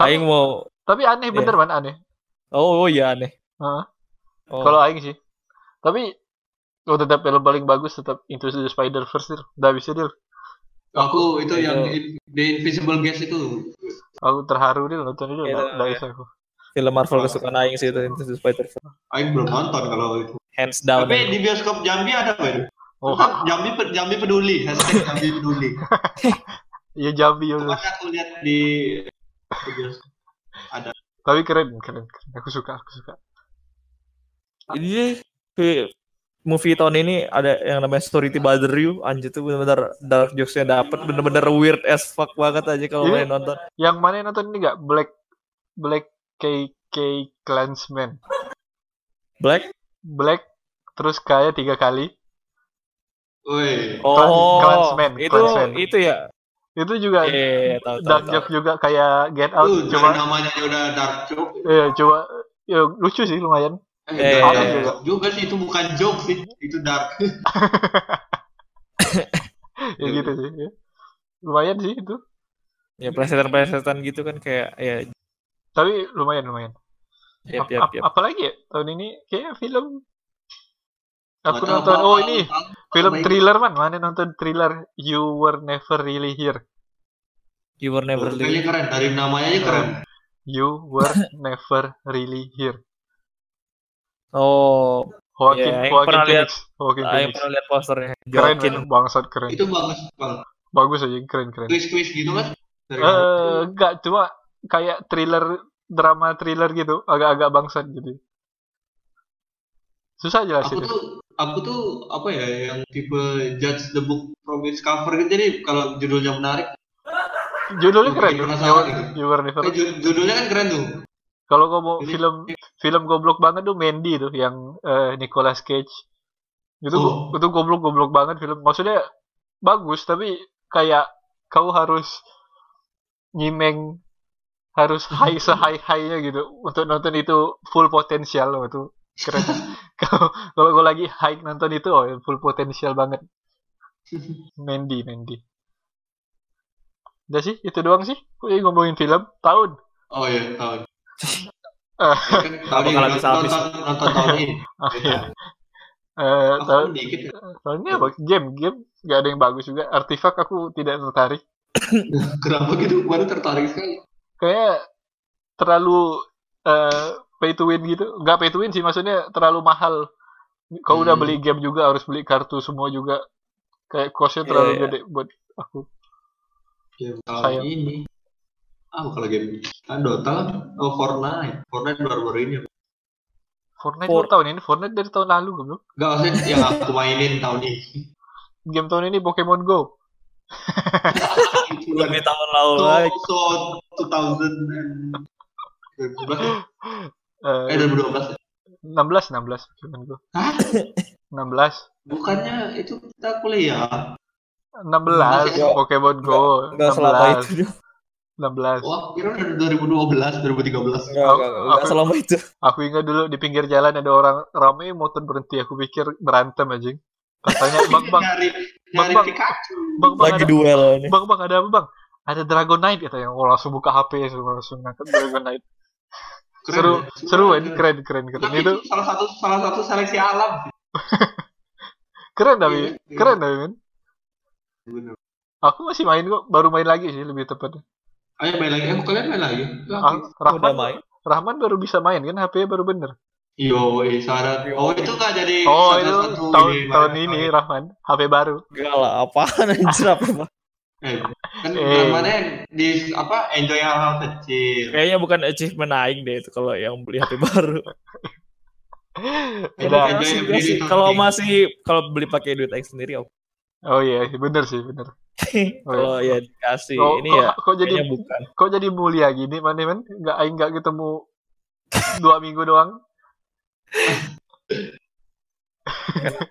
S2: aing mau
S3: tapi aneh
S2: Iya.
S3: bener man aneh.
S2: oh, oh ya aneh.
S3: Heeh.
S2: Oh.
S3: Kalau aing sih. Tapi oh, tetap film paling bagus tetap Into the Spider Verse. Udah ya, bisa deal.
S1: Aku itu yang
S2: Itu.
S1: in- The Invisible Guest itu.
S3: Aku terharu deal nonton itu.
S2: Iya,
S3: Nggak- nggak
S2: iya.
S3: bisa aku.
S2: film Marvel kesukaan aing sih itu Into the Spider-Verse.
S1: Aku belum nonton kalau itu.
S2: Hands down.
S1: Tapi di bioskop Jambi ada apa? Oh.
S3: Oh,
S1: Jambi, pe- Jambi peduli. Hashtag Jambi peduli.
S3: iya Jambi ya.
S1: Kemarin aku lihat di di bioskop.
S3: Tapi keren, keren, keren. Aku suka, aku suka.
S2: Ini fi- movie tahun ini ada yang namanya Story to Bother You. Anjir tuh bener-bener dark jokes-nya dapet. Bener-bener weird as fuck banget aja kalau
S3: Ini-
S2: main nonton.
S3: Yang mana yang nonton ini gak? Black Black KK Clansman.
S2: Black?
S3: Black terus kaya tiga kali.
S1: Woi.
S2: Oh,
S3: Clansman,
S2: itu
S3: Clansman.
S2: itu ya.
S3: Itu juga
S2: Iya, tahu tahu.
S3: dark joke juga kayak Get Out.
S1: Lu
S3: Cuma
S1: dari namanya aja udah dark joke.
S3: eh, cuma ya, lucu sih lumayan.
S1: Eh,
S2: Eh,
S1: dark
S3: iya.
S1: joke juga sih itu bukan joke sih, itu dark. Iya,
S3: Ya gitu sih. ya. Lumayan sih itu.
S2: Ya plesetan-plesetan gitu kan kayak ya
S3: Tapi lumayan lumayan.
S2: yap
S3: Ap-
S2: yap
S3: ap-
S2: yap.
S3: Apalagi ya tahun ini kayak film aku
S1: Nggak tahu
S3: nonton
S1: apa-apa,
S3: oh ini
S1: tahu.
S3: film
S1: Apa ini?
S3: thriller man mana nonton thriller You Were Never Really Here
S2: You were never
S1: Kayaknya
S2: leave.
S1: keren, dari namanya aja keren.
S3: You Were Never Really Here
S2: Oh,
S3: Joaquin
S2: Iya, yang
S3: Joaquin
S2: pernah
S3: Phoenix Joaquin
S2: saya
S3: Phoenix
S2: pernah lihat posternya.
S3: Iya, keren
S2: Joaquin. Iya.
S3: man. bangsat keren
S1: Itu bagus banget.
S3: bagus aja keren keren
S1: Quiz-quiz gitu kan.
S2: iya,
S1: Dari
S3: eh enggak cuma kayak thriller drama thriller gitu agak-agak bangsat gitu susah
S1: aku
S3: jelasin
S1: tuh aku tuh apa ya yang tipe judge the book from its cover gitu jadi kalau judulnya menarik
S3: judulnya
S1: Aku
S3: keren
S1: jadi
S3: You
S1: penasaran
S3: Were-
S1: gitu.
S3: You Were Never
S1: eh, ju- judulnya kan keren tuh
S3: Kalau gua mau
S1: Ini-
S3: film film goblok banget tuh Mandy tuh yang eh, Nicolas Cage. Itu
S1: Oh.
S3: go- itu goblok-goblok banget film. Maksudnya bagus tapi kayak kau harus nyimeng harus high sehigh-highnya gitu untuk nonton itu full potensial loh itu keren. Kalau kalau gua lagi high nonton itu oh full potensial banget. Mandy, Mandy. Udah sih, itu doang sih. Kok jadi ngomongin film tahun.
S1: oh iya tahun
S3: Ah.
S1: Ya kan, tahun ini
S2: Bakal
S1: nonton,
S2: habis-habis.
S1: nonton, nonton tahun ini
S3: Ah, iya. Eh,
S1: Aku
S3: tahun
S1: dikit ya.
S3: Soalnya apa? Game, game nggak ada yang bagus juga. Artifak aku tidak tertarik.
S1: kenapa gitu baru tertarik sekali
S3: Kayak terlalu eh, pay to win gitu. Nggak pay to win sih, maksudnya terlalu mahal. Kau udah
S1: Hmm.
S3: beli game juga harus beli kartu semua juga. Kayak cost-nya
S2: Iya,
S3: terlalu
S2: iya.
S3: gede buat aku.
S1: game Ya, tahun
S3: Sayang.
S1: ini ah kalau game kan Dota kan oh Fortnite Fortnite baru-baru ini
S3: Fortnite
S2: For-
S3: baru tahun ini, Fortnite dari tahun lalu belum?
S1: Enggak maksudnya yang aku mainin tahun ini
S3: Game tahun ini Pokemon Go.
S2: Lebih tahun lalu
S1: so,
S2: lagi.
S1: so 2000 and- 2012 eh
S2: Iya.
S3: Eh,
S1: 2012
S3: 16, 16 Pokemon Go.
S1: Hah?
S3: 16,
S1: Bukannya itu kita kuliah.
S3: 16
S1: Yo,
S3: Pokemon Go.
S2: ya? Enggak selama itu.
S3: 16, 16.
S1: Wah, kira dari 2012, 2013.
S2: Enggak, enggak, enggak
S3: Aku-
S2: selama itu.
S3: Aku ingat dulu di pinggir jalan ada orang ramai motor berhenti. Aku pikir berantem anjing. Katanya bang bang
S1: nyari
S3: Bang,
S1: nyari
S3: Bang.
S1: Pikachu.
S3: bang bang
S2: Lagi
S3: ada,
S2: duel ini.
S3: bang bang ada apa bang? Ada Dragon Knight katanya. Oh, langsung buka HP semua langsung ngangkat Dragon Knight.
S1: Keren
S3: seru
S1: ya?
S3: seru ini keren keren keren
S1: Tapi
S3: itu
S1: itu salah satu salah satu seleksi alam.
S3: keren tapi
S1: Iya, iya.
S3: keren tapi men.
S1: Bener.
S3: Aku masih main kok, baru main lagi sih lebih tepatnya.
S1: Ayo main lagi. Eh, kalian main lagi.
S3: Ah,
S2: Udah
S3: Rahman,
S2: main.
S3: Rahman baru bisa main kan HP baru bener.
S1: Yo, eh, syarat. Oh, itu nggak jadi
S3: Oh
S1: salah
S3: itu
S1: satu Iya,
S3: tahun
S1: ini,
S3: tahun
S1: mana-
S3: ini Rahman HP baru.
S2: Enggak lah, apaan anjir apa Bang?
S1: Eh, kan
S3: Eh.
S1: mana di apa enjoy hal-hal kecil.
S2: Kayaknya bukan achievement aing deh itu kalau yang beli HP baru.
S1: Udah,
S3: Udah.
S1: enjoy
S2: Masih-
S1: yang beli di
S2: masih-
S1: tahun
S2: kalau
S1: ini.
S2: masih kalau beli pakai duit aing sendiri oke.
S3: Oh iya bener sih bener.
S2: kalau ya dikasih
S3: Kok-
S2: ini
S3: kok-
S2: ya
S3: kok jadi
S2: kayaknya bukan.
S3: kok jadi mulia gini man man nggak aing nggak ketemu dua minggu doang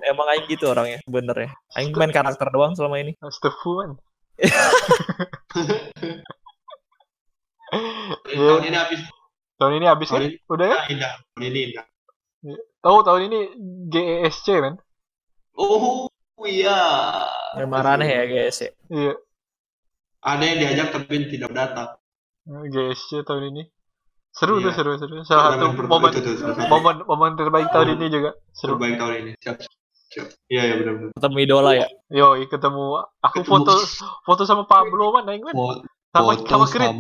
S2: Emang aing gitu orangnya sebenarnya. Aing main karakter doang selama ini.
S3: astaghfirullah man
S1: Eh,
S3: Iya.
S1: Tahun ini habis.
S3: tahun ini habis kan
S1: Tahun ini
S3: udah ya
S1: indah. Tahun ini indah.
S3: oh tahun ini E GESC man
S1: Oh iya.
S2: Memang aneh ya guys ya.
S3: iya
S1: Ada yang diajak tapi tidak datang.
S3: GESC E tahun ini seru
S1: Iya.
S3: tuh seru seru salah satu
S1: Momen-
S3: momen
S1: itu tuh, salah satu
S3: momen momen terbaik tahun ini juga seru
S1: terbaik tahun ini. Siap. Siap. Iya ya benar benar.
S2: Ketemu idola
S3: Iya.
S2: ya.
S3: yo ketemu aku
S1: Ketemu.
S3: foto foto sama Pablo man aing man
S1: Fo-
S3: sama sama Creed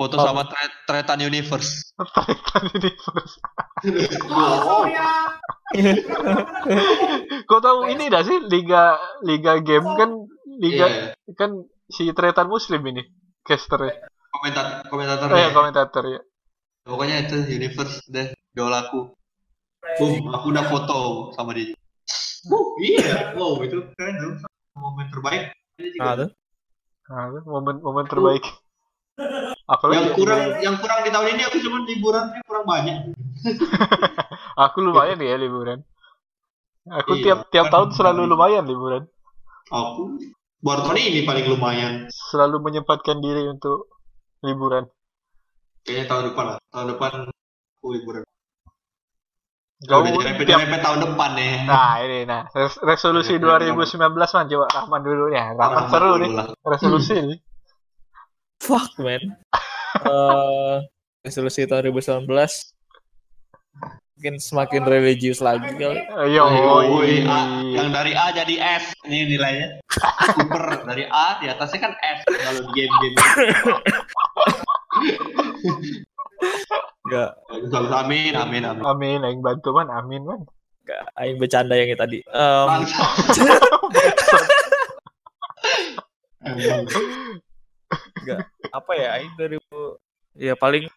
S1: foto
S2: Apa?
S1: sama Tre- Tretan Universe.
S3: Titan ini terus kau tahu ini dah sih liga liga game kan liga
S1: Iya.
S3: kan si Tretan Muslim ini casternya
S1: Komentar
S3: eh
S1: Iya. ya. komentatornya.
S3: komentator ya
S1: Pokoknya itu universe deh idolaku.
S3: Iya.
S1: Boom, aku udah foto sama dia. Wuh, iya, wow itu keren tuh. Momen terbaik. Dia juga.
S2: Nah, tuh.
S3: Nah, itu momen-momen terbaik. Apalagi
S1: yang kurang yang kurang di tahun ini aku cuma liburannya kurang banyak.
S3: Aku lumayan ya liburan. Aku
S1: Iya,
S3: tiap tiap
S1: kan
S3: tahun selalu
S1: lumayan.
S3: lumayan liburan.
S1: Aku baru tahun ini paling lumayan.
S3: Selalu menyempatkan diri untuk liburan.
S1: Kayaknya tahun depan lah. Tahun depan aku liburan.
S3: Kau
S1: udah nyerempet
S3: tiap
S1: nyerempet tahun depan ya.
S3: Nah ini nah res- resolusi
S1: Iya, iya,
S3: 2019 man coba Rahman dulu ya
S1: Tahun
S3: Rahman seru
S1: dulu
S3: nih
S1: lah.
S3: resolusi nih
S2: Fuck man. Eh, resolusi tahun 2019 mungkin semakin religius lagi kali.
S3: Eh, yo
S1: Oh, iya. yang dari A jadi S ini nilainya. Super dari A di atasnya kan S kalau di game-game.
S2: Enggak,
S1: Amin, amin, amin.
S3: amin yang bantu man amin man
S2: enggak aing bercanda yang tadi. Em,
S1: Bangsa. Emang.
S2: apa ya aing dari ya paling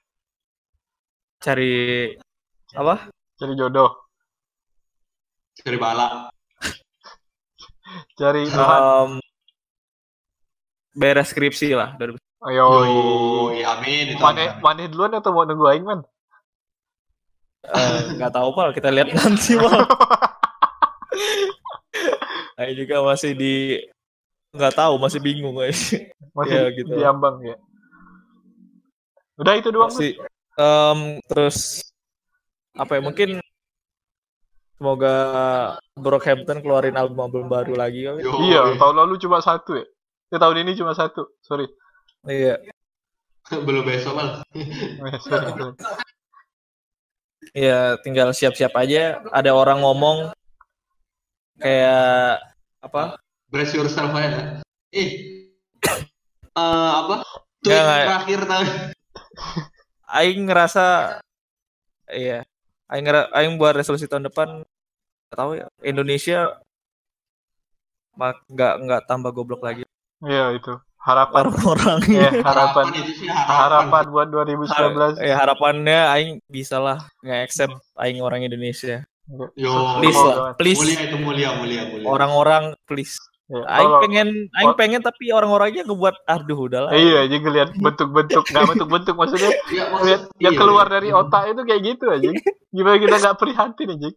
S2: cari apa?
S3: cari jodoh
S1: Cari bala.
S3: cari Tuhan
S2: Em, beres skripsi lah dari
S1: Ah.
S3: ayo
S1: Yoi, amin. Itu
S3: mana mana duluan atau mau nunggu aing man
S2: Eh, nggak tahu pal kita lihat nanti pal Aing juga masih di nggak tahu masih bingung guys
S3: masih
S2: Iya, gitu.
S3: diambang ya udah itu doang
S2: masih em, terus apa ya mungkin semoga Brockhampton keluarin album-album baru lagi
S1: Yoi.
S2: kali.
S3: Man. iya tahun lalu cuma satu ya Eh, tahun ini cuma satu sorry
S2: iya
S1: Belum besok malah.
S3: Eh, sorry, sorry.
S2: iya tinggal siap-siap aja ada orang ngomong kayak apa
S1: Brace yourself aja. Eh. eh, apa? Tweet
S2: Nggak, nggak.
S1: terakhir tahun.
S2: Aing ngerasa iya Aing ngera- Aing buat resolusi tahun depan nggak tahu ya Indonesia ma- nggak nggak tambah goblok lagi
S3: iya itu harapan
S2: orang-orang
S3: ya harapan
S1: itu sih
S3: harapan buat 2019
S2: ya harapannya aing bisa lah nggak accept aing orang Indonesia
S1: Yo,
S2: please
S3: Oh,
S2: lah
S3: jangan.
S2: please
S1: mulia itu mulia, mulia, mulia.
S2: orang-orang please
S3: Ya,
S2: aing
S3: tolong.
S2: pengen aing
S3: Or-
S2: pengen tapi orang-orangnya ngebuat arduh udahlah
S3: Eh, Oh. Iya, aja ngeliat bentuk-bentuk, nggak bentuk-bentuk maksudnya
S1: Ya, maksud-
S3: ngeliat
S1: iya,
S3: yang keluar
S1: iya.
S3: dari otak itu kayak gitu aja. Gimana kita nggak prihatin aja?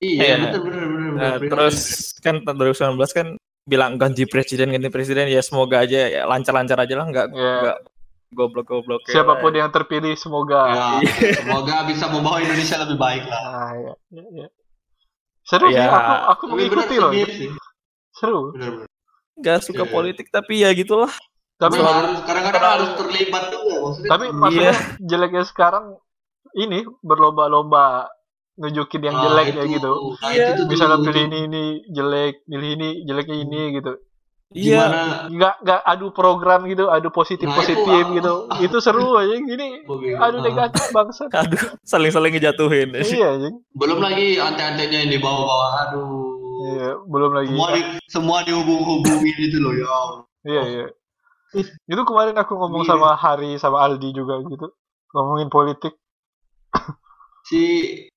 S1: Iya,
S2: Iya.
S1: bener, bener, bener, bener,
S2: Nah,
S1: bener.
S2: terus kan tahun 2019 kan bilang ganti presiden ganti presiden ya semoga aja ya lancar-lancar aja lah nggak
S3: Ya,
S2: Nggak. goblok-goblok ya.
S3: siapapun yang terpilih semoga.
S1: Ya, semoga bisa membawa Indonesia lebih baik lah.
S3: Ah, ya, ya, ya. Seru sih,
S2: Ya.
S3: aku aku
S1: Tapi bener
S3: mengikuti
S1: sih,
S3: loh.
S1: Mir, sih.
S3: Seru.
S1: Bener, bener.
S2: nggak suka
S1: Iya.
S2: politik tapi ya gitulah
S3: Tapi
S1: Bener, harus- kadang-kadang harus terlibat juga maksudnya.
S3: tapi maksudnya jeleknya sekarang ini berlomba-lomba nunjukin yang
S1: Nah,
S3: jelek ya
S1: itu-
S3: gitu.
S1: nah,
S2: Iya.
S1: itu tuh
S3: Misalnya
S1: dulu,
S3: pilih
S1: tuh.
S3: ini ini jelek, pilih ini jeleknya ini gitu.
S2: iya
S1: Gimana
S3: nggak nggak adu program gitu adu positif
S1: Nah,
S3: positif
S1: itu- Ah.
S3: gitu itu seru aja gini
S1: bagaimana?
S3: adu negatif bangsa
S2: aduh saling-saling ngejatuhin
S3: iya anjing
S1: Belum lagi antek-anteknya yang dibawa-bawa. Aduh.
S3: iya belum lagi
S1: Semua di, semua dihubung-hubungin itu loh ya. Allah.
S3: iya iya itu kemarin aku ngomong
S1: Iya.
S3: sama Hari sama Aldi juga gitu ngomongin politik
S1: Si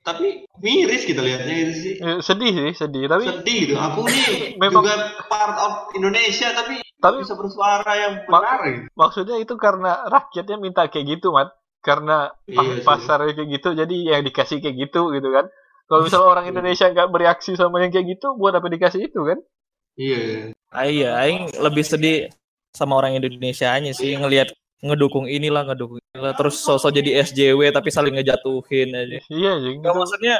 S1: tapi miris kita lihatnya itu sih.
S3: Eh, sedih sih sedih tapi
S1: Sedih gitu. Aku nih
S3: Memang-
S1: juga part of Indonesia tapi
S3: tapi
S1: bisa bersuara yang
S3: Ma-
S1: benar gitu.
S3: maksudnya itu karena rakyatnya minta kayak gitu mat karena pa-
S1: Iya sih.
S3: pasarnya kayak gitu jadi yang dikasih kayak gitu gitu kan kalau misalnya orang
S1: Iya.
S3: Indonesia nggak bereaksi sama yang kayak gitu buat apa dikasih itu kan
S1: Iya.
S2: Ah, iya aing lebih sedih sama orang Indonesia aja sih ngelihat ngedukung inilah ngedukung inilah terus sosok jadi SJW tapi saling ngejatuhin aja
S3: iya anjing
S2: Nggak maksudnya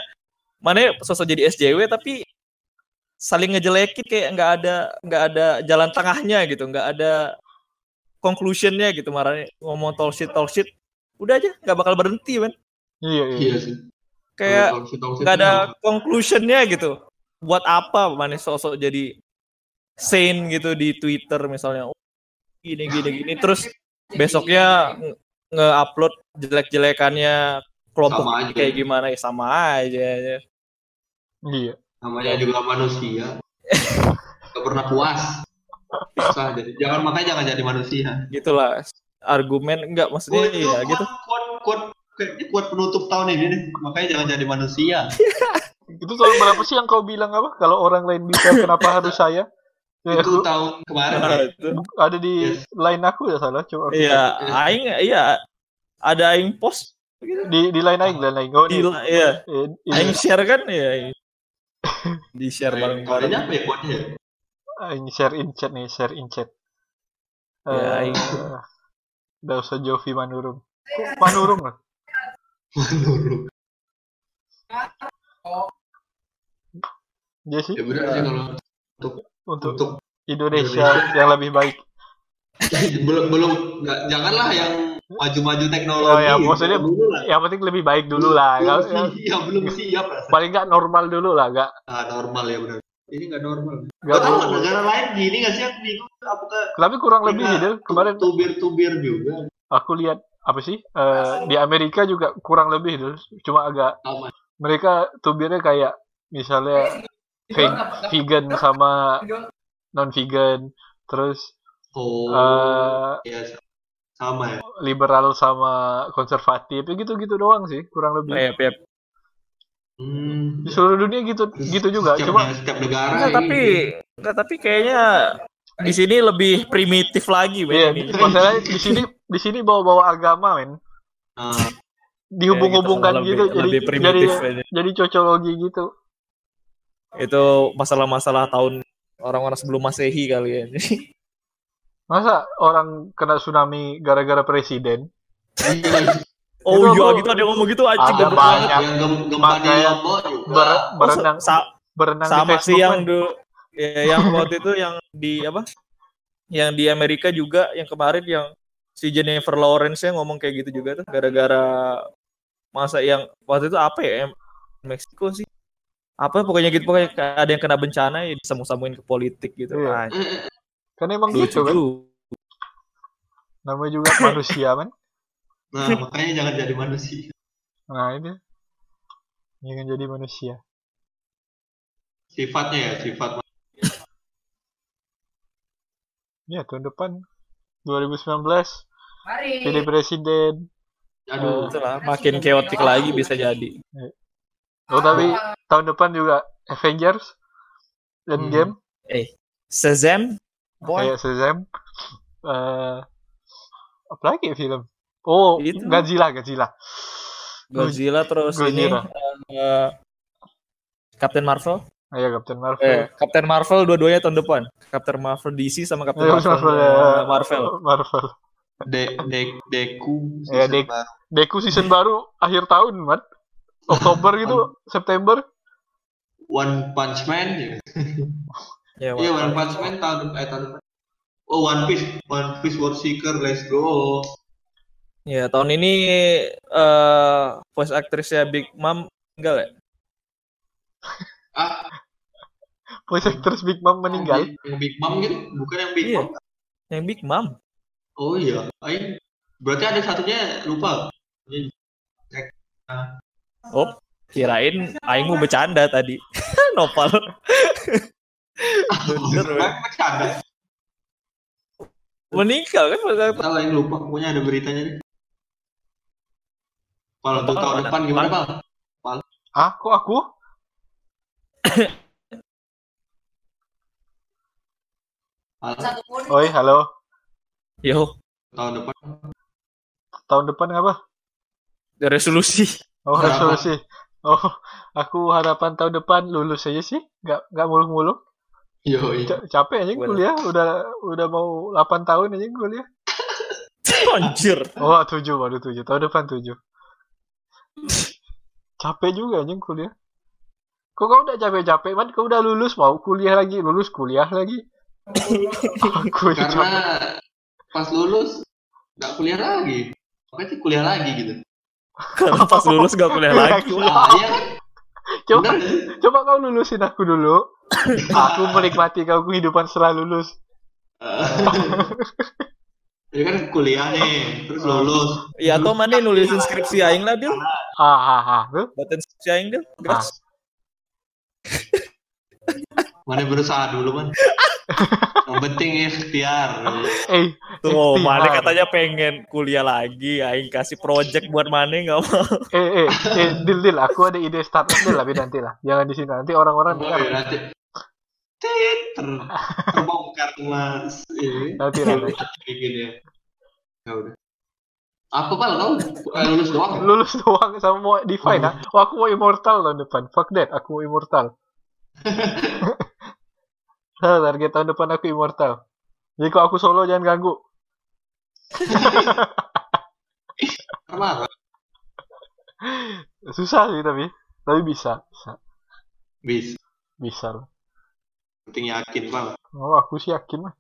S2: mana ya, sosok jadi SJW tapi saling ngejelekin kayak nggak ada nggak ada jalan tengahnya gitu, nggak ada conclusionnya gitu marahnya ngomong tall shit tall shit udah aja nggak bakal berhenti men
S3: iya iya
S1: Iya sih.
S2: kayak
S1: Kalau kan tongsi-tongsi
S2: nggak ada
S1: itu
S2: conclusionnya gitu buat apa mana sosok jadi sane gitu di Twitter misalnya Oh, gini gini gini terus besoknya nge- nge-upload jelek-jelekannya
S1: Sama
S2: kelompok
S1: aja.
S2: kayak gimana ya sama aja ya.
S3: iya
S1: namanya juga manusia. Gak pernah puas. Susah jadi. Jangan makanya jangan jadi manusia.
S2: gitulah argumen enggak
S1: Gua
S2: maksudnya iya
S1: itu
S2: gitu
S1: quote- quote- quote kayaknya kuat penutup tahun ini nih. Makanya jangan jadi manusia.
S3: Itu tahun berapa sih yang kau bilang apa? Kalau orang lain bisa, kenapa harus saya? Ya,
S1: itu
S3: aku-
S1: tahun kemarin.
S2: Nah,
S1: ya.
S2: itu.
S3: ada di
S1: Yes.
S3: line aku ya salah coba. aku
S2: Iya, aing iya ada aing post
S3: cek. Di di line aing, line aing. Oh,
S2: di
S3: ini.
S2: iya,
S3: Eh, ini.
S2: aing share kan ya. Di share bareng
S1: Kemarin apa ya kuatnya ya?
S3: Aing share in chat nih, share in chat. Eh,
S2: Ya, aing.
S3: Nggak usah Jovi Manurung. Kok Manurung lah?
S1: Menurut.
S3: Dia Iya sih
S1: Ya bener sih kalau
S3: untuk
S1: untuk
S3: Indonesia yang lebih baik.
S1: belum belum nggak- janganlah yang maju-maju teknologi.
S3: Oh ya, maksudnya
S1: Dulu lah.
S3: Yang penting lebih baik dulu lah.
S1: Belum
S3: Nggak-
S1: siap, ya, belum siap lah.
S3: Paling nggak normal dulu lah, nggak
S1: Nah, normal ya benar. Ini nggak normal.
S3: nggak
S1: Gak tahu
S3: buruk.
S1: negara lain gini nggak sih aku bingung apakah
S3: Tapi kurang lebih
S1: Nah,
S3: sih, Del. Kemarin
S1: tubir-tubir juga
S3: aku lihat apa sih eh, di Amerika juga kurang lebih Del. Cuma agak
S1: sama.
S3: mereka tubirnya kayak misalnya ve- vegan sama non vegan, terus
S1: Oh,
S3: eh,
S1: ya sa- sama ya.
S3: liberal sama konservatif ya gitu-gitu doang sih kurang lebih.
S2: Iya, iya.
S1: Hmm.
S3: Di seluruh dunia gitu gitu juga.
S1: Setiap,
S3: Cuma
S1: setiap negara.
S2: Enggak,
S1: ini.
S2: tapi enggak, tapi kayaknya di sini lebih primitif lagi, Ben.
S3: Iya,
S2: ini.
S3: masalahnya di sini di sini bawa-bawa agama, men.
S1: Nah,
S2: Kayak
S3: Dihubung-hubungkan gitu,
S2: Iya, gitu. lebih, lebih
S3: jadi jadi
S2: primitif aja.
S3: jadi cocologi gitu.
S2: itu masalah-masalah tahun orang-orang sebelum masehi kali ya
S3: Masa orang kena tsunami gara-gara presiden?
S2: oh
S3: Itu
S2: iya
S3: aku-
S2: gitu ada yang ngomong gitu anjing
S3: Ada
S2: goblok
S3: banyak.
S2: banget.
S1: yang gem- gempa di
S3: Makanya
S1: Lombok juga.
S3: Ber-
S2: Oh,
S3: berenang
S2: sa-
S3: berenang di
S2: sama
S3: Facebook
S2: sih yang
S3: kan.
S2: du- ya, yang waktu itu yang di apa yang di Amerika juga yang kemarin yang si Jennifer Lawrence yang ngomong kayak gitu juga tuh gara-gara masa yang waktu itu apa ya em- Meksiko sih apa pokoknya gitu pokoknya ada yang kena bencana ya disamu-samuin ke politik gitu
S3: Iya.
S2: Anjing,
S3: kan emang
S2: lucu
S3: gitu kan.
S2: juga.
S3: Namanya juga manusia, men.
S1: Nah, makanya jangan jadi manusia.
S3: Nah, itu. Jangan jadi manusia.
S1: Sifatnya ya, sifat.
S3: Ya, tahun depan 2019 pilih presiden.
S1: Aduh,
S2: Itulah, makin keotik lagi bisa jadi
S3: Oh, tapi tahun depan juga Avengers
S2: Hmm.
S3: Endgame
S2: Shazam boy
S3: kayak Shazam. Eh, apa lagi film? Oh,
S2: Itu.
S3: Godzilla, Godzilla.
S2: Godzilla terus
S3: Godzilla.
S2: ini eh, Captain Marvel
S3: Ayo Iya, Captain Marvel.
S2: eh Captain Marvel dua-duanya tahun depan Captain Marvel DC sama Captain
S3: Ayo,
S2: Marvel
S3: Marvel,
S2: eh,
S3: ya.
S2: Marvel
S3: Marvel.
S2: Oh.
S1: de, de, deku.
S3: Ya,
S1: season
S3: Dek.
S1: baru.
S3: Deku season baru akhir tahun, Mat. Oktober gitu, September.
S1: One Punch Man.
S2: Iya,
S1: ya.
S2: ya,
S1: Iya,
S2: Marvel.
S1: One Punch Man tahun eh tahun depan. Oh, One Piece, One Piece World Seeker, let's go.
S2: Ya, tahun ini eh voice aktrisnya Big Mom enggak ya
S1: Ah,
S3: Voice actress Big Mom meninggal.
S1: Yang Big Mom gitu, bukan yang Big
S2: Iya.
S1: Mom.
S2: yang Big Mom
S1: Oh iya, Aing. Berarti ada satunya lupa.
S2: oh kirain Aing mau bercanda tadi nopal Bener,
S1: Bener, Aing bercanda.
S2: meninggal kan voice actress.
S1: Tahu Aing lupa, pokoknya ada beritanya nih. Kalau untuk
S2: Pal,
S1: tahun
S2: mana?
S1: depan gimana,
S2: Pal?
S1: Pak?
S3: Ah, kok aku? Oi, halo.
S2: yo
S1: Tahun depan.
S3: Tahun depan apa?
S2: resolusi
S3: Oh,
S1: Harapan.
S3: resolusi. Oh, aku harapan tahun depan lulus aja sih. Nggak nggak muluk-muluk.
S1: Yo,
S3: Ca- capek aja
S2: Boleh.
S3: kuliah, udah udah mau 8 tahun aja kuliah.
S2: anjir
S3: Oh, 7 baru 7. Tahun depan 7. Capek juga anjing kuliah. Kok kau udah capek-capek, man? Kau udah lulus, mau kuliah lagi, lulus kuliah lagi. aku aja capek.
S1: karena pas lulus nggak kuliah lagi. Makanya kuliah lagi gitu.
S2: karena kan pas lulus gak kuliah lagi
S1: Nah, iya kan? Bener
S3: Coba,
S1: nggak sih?
S3: coba kau lulusin aku dulu. aku menikmati kau kehidupan setelah lulus.
S1: Jadi kan kuliah nih, terus lulus.
S2: Ya atau mana nulisin skripsi aing lah Dil.
S3: Hahaha.
S2: Batin skripsi aing Dil.
S3: Ah.
S2: Gas.
S1: Mana berusaha dulu, Man. Yang penting ya, ikhtiar.
S3: Eh,
S2: Tuh,
S3: Ikhtiar.
S2: Mane katanya pengen kuliah lagi, aing kasih project buat Mane nggak mau.
S3: eh, eh, eh, deal deal. Aku ada ide startup deal tapi nanti lah. Jangan di sini nanti orang-orang
S1: Oh,
S3: dengar.
S1: ya, nanti Tit, ter- terbongkar mas. Ini
S3: Nanti lah. nanti.
S1: kayak gini ya. Ya udah. Apa pal kau Eh, lulus doang?
S3: Lulus doang sama mau define ah. Oh, aku mau immortal tahun depan. Fuck that, aku mau immortal. Nah, target tahun depan aku immortal. Jadi kalau aku solo jangan ganggu.
S1: Pernah kan?
S3: Susah sih tapi, tapi bisa, bisa,
S1: Bis.
S3: bisa lah.
S1: Penting yakin pal. Ah,
S3: Oh, aku sih yakin lah.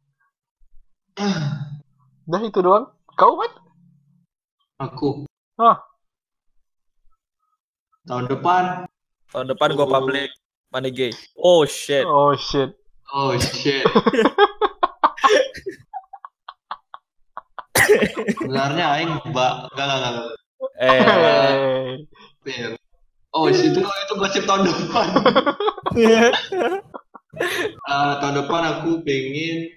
S3: Dah itu doang. Kau kan?
S1: Aku.
S3: Ah.
S1: Tahun depan.
S2: Tahun depan gua public Mane gay. Oh shit.
S3: Oh shit.
S1: Oh shit. Sebenarnya aing mbak enggak enggak enggak.
S2: Eh.
S3: Hey.
S1: Fair. Oh, shit, itu kalau itu gosip tahun depan. Eh, tahun depan aku pengen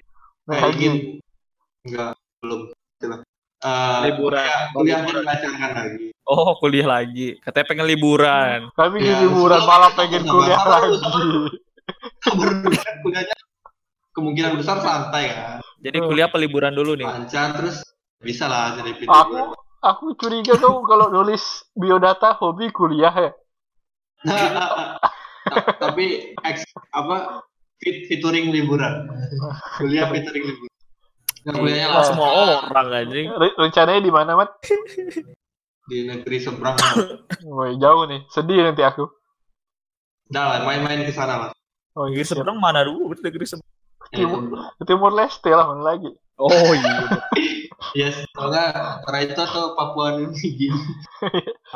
S1: pengen
S3: Haji.
S1: enggak belum. Gitu Coba. Eh,
S2: Liburan.
S1: kuliah- kuliah dilancarkan lagi.
S2: Oh, kuliah lagi. Katanya pengen liburan.
S3: Kami di
S1: Ya,
S3: liburan
S1: solo
S3: malah
S1: kita
S3: pengen
S1: sama
S3: kuliah
S1: sama.
S3: lagi.
S1: Kemudian kuliahnya kemungkinan besar santai kan.
S2: Jadi kuliah apa liburan dulu nih?
S1: Lancar terus bisa lah jadi pintu.
S3: Aku aku curiga kau kalau nulis biodata hobi kuliah ya.
S1: Ta- Nah, tapi ex, apa fit, featuring liburan kuliah featuring liburan nah, kuliahnya
S2: Lah,
S1: langsung
S2: semua orang anjing.
S3: Re- rencananya di mana mat?
S1: di negeri seberang
S3: Woi, jauh nih, sedih nanti aku.
S1: udah lah Ya main-main ke sana mas
S3: Oh,
S2: Negeri
S3: shit.
S2: seberang mana dulu? Negeri seberang.
S3: Timur, Timur Leste lah mana lagi.
S2: Oh iya.
S1: yes soalnya karena itu atau Papua New Guinea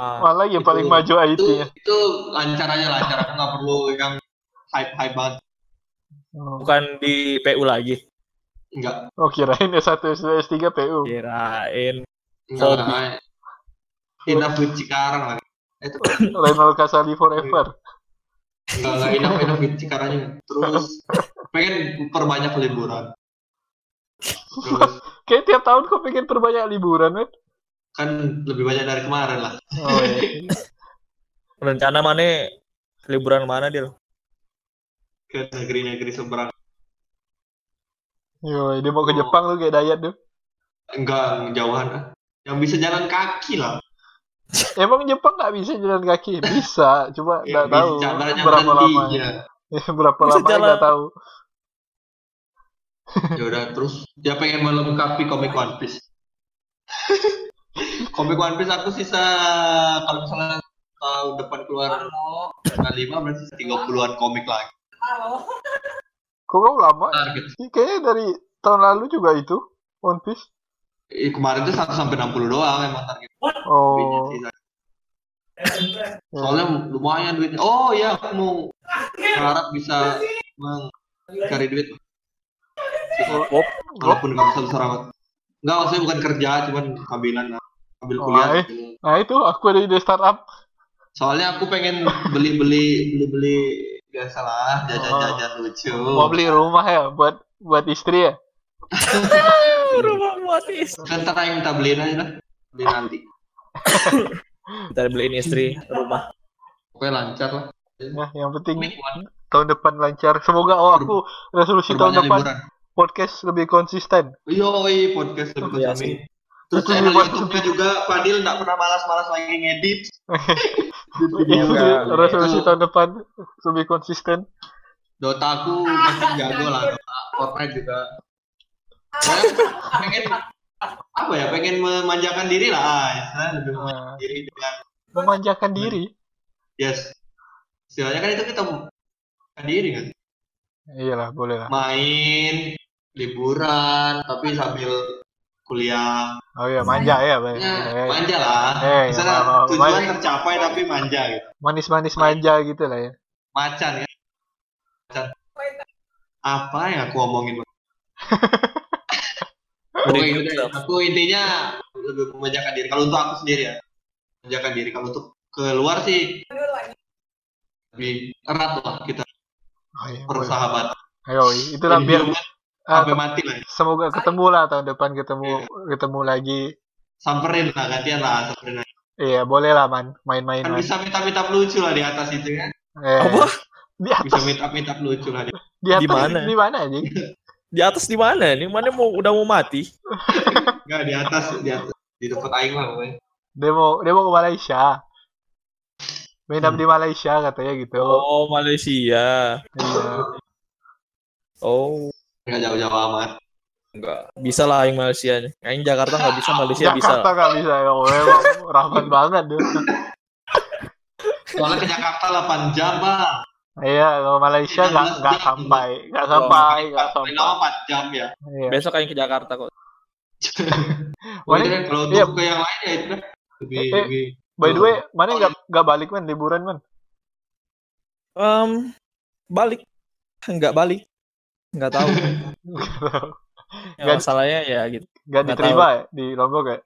S2: Ah,
S3: Mana lagi yang
S1: itu-
S3: paling maju
S1: itu gitu,
S3: IT-nya.
S1: itu lancar aja lancar aku nggak perlu yang hype hype banget
S3: Oh,
S2: bukan di PU lagi.
S1: nggak
S3: oh, kirain S1, S2, S3, PU.
S2: Iya. Kirain.
S1: nggak
S2: Hobi.
S1: lah. enough with Cikarang lah Eh, itu
S3: Renal Kasali forever.
S1: nggak nggak enough enough with Cikarang juga. terus pengen perbanyak liburan terus
S3: Kayak tiap tahun kau pengen perbanyak liburan, Mat.
S1: kan lebih banyak dari kemarin lah
S3: Oh, iya.
S2: Rencana Mane liburan mana dia?
S1: ke negeri-negeri seberang
S3: Yoi, dia mau ke Jepang lu kayak dayat tuh.
S1: enggak jauhan ah. yang bisa jalan kaki lah
S3: Emang Jepang nggak bisa jalan kaki? Bisa, cuma nggak
S1: Yang
S3: tahu
S1: Iya, bisa jalannya
S3: berapa lama. Iya,
S1: berhenti ya.
S3: berapa
S2: Bisa
S3: lama
S2: jalan.
S3: nggak tahu.
S1: ya udah terus dia pengen melengkapi komik One Piece komik One Piece aku sisa kalau misalnya tahun depan keluar tanggal lima berarti tiga an komik lagi gitu.
S3: Kok kau lama?
S1: target
S3: Ih, Kayaknya dari tahun lalu juga itu One Piece.
S1: Eh, kemarin tuh 1 sampai 60 doang emang target Jadinya
S3: Oh,
S1: sisa. soalnya lumayan duitnya oh ya aku mau harap bisa mencari duit
S3: Oh.
S2: Wop.
S1: walaupun nggak besar-besar amat nggak maksudnya bukan kerja cuman ambilan lah. ambil
S3: Oh,
S1: kuliah
S3: eh. nah itu aku ada ide startup.
S1: soalnya aku pengen beli-beli beli-beli biasalah jajan-jajan lucu
S3: Oh. Mau beli rumah ya buat buat istri ya.
S2: Rumah muatis.
S1: kan ntar yang minta beliin aja lah beli nanti
S2: Kita beliin istri rumah.
S1: pokoknya lancar lah
S3: Nah, yang
S1: Komik
S3: penting
S1: One
S3: tahun depan lancar. Semoga oh aku resolusi
S1: perbanyak
S3: tahun depan
S1: liburan
S3: podcast lebih konsisten.
S1: yoi podcast lebih
S2: Iya
S1: konsumsi
S2: sih.
S1: terus
S3: Terus
S1: channel
S3: dibuat
S1: YouTube-nya juga Fadil nggak pernah malas-malas lagi ngedit Iya,
S3: Itu sih
S2: Semoga.
S3: Iya, resolusi
S1: Itu-
S3: tahun depan lebih konsisten.
S1: Dota aku masih jago lah Dota Fortnite juga Soalnya pengen apa ya pengen memanjakan diri lah istilahnya lebih memanjakan
S3: Nah,
S1: diri dengan
S3: memanjakan
S1: Iya.
S3: diri.
S1: yes istilahnya kan itu kita memanjakan diri kan
S3: Iyalah, boleh lah.
S1: main liburan tapi sambil kuliah
S3: Oh iya, manja ya.
S1: ya,
S3: Bay. Iya, iya.
S1: manja lah
S3: Eh,
S1: misalnya
S3: mau- mau-
S1: tujuan
S3: main.
S1: tercapai tapi manja gitu
S3: Manis-manis manja gitu lah ya.
S1: macan kan macan apa yang aku omongin Oke,
S2: Review
S1: udah.
S2: stuff.
S1: aku intinya lebih memanjakan diri. Kalau untuk aku sendiri ya, memanjakan diri. Kalau untuk keluar sih lebih erat lah kita
S3: Oh, iya, boleh.
S1: persahabatan.
S3: Ayo, itulah
S1: Jadi
S3: biar
S1: hidup
S3: ah,
S1: Iya, sampai Iya. mati lah. ya.
S3: semoga ketemu lah tahun depan ketemu ketemu lagi.
S1: Samperin lah gantian lah samperin. aja.
S3: Iya, boleh lah man, main-main
S1: Kan
S3: man.
S1: bisa meet up meet up lucu lah di atas itu kan.
S3: Eh,
S2: Apa?
S3: Di atas,
S1: Bisa meet up meet up lucu lah. Di.
S3: di atas
S2: Di mana?
S3: Di mana anjing?
S2: Di atas di mana? Ini mana mau udah mau mati?
S1: Enggak di atas di atas di tempat aing lah pokoknya.
S3: Demo, demo ke Malaysia. Main up di Malaysia katanya gitu.
S2: Oh, Malaysia.
S3: Iya.
S2: Oh,
S1: Enggak jauh-jauh amat.
S2: enggak. Bisa lah yang Malaysia. Yang Jakarta nggak bisa, Malaysia bisa.
S3: Jakarta nggak bisa ya, memang rahman banget deh.
S1: Soalnya ke Jakarta 8 jam bang.
S3: Iya, kalau Malaysia nggak nggak sampai, nggak sampai, nggak
S1: Paling
S3: sampai.
S1: lama 4 jam ya.
S3: Iya.
S2: Besok aing ke Jakarta kok.
S1: Boleh
S3: Mana-
S1: deh, kalau
S3: iya.
S1: untuk ke yang lain ya itu deh. lebih
S3: Eh, eh.
S1: lebih
S3: By the way, mana nggak nggak balik man liburan man?
S2: Em, balik. Enggak balik. Enggak tahu. Ya,
S3: Nggak-
S2: masalahnya ya gitu.
S3: Nggak
S2: Nggak
S3: diterima ya di Lombok ya?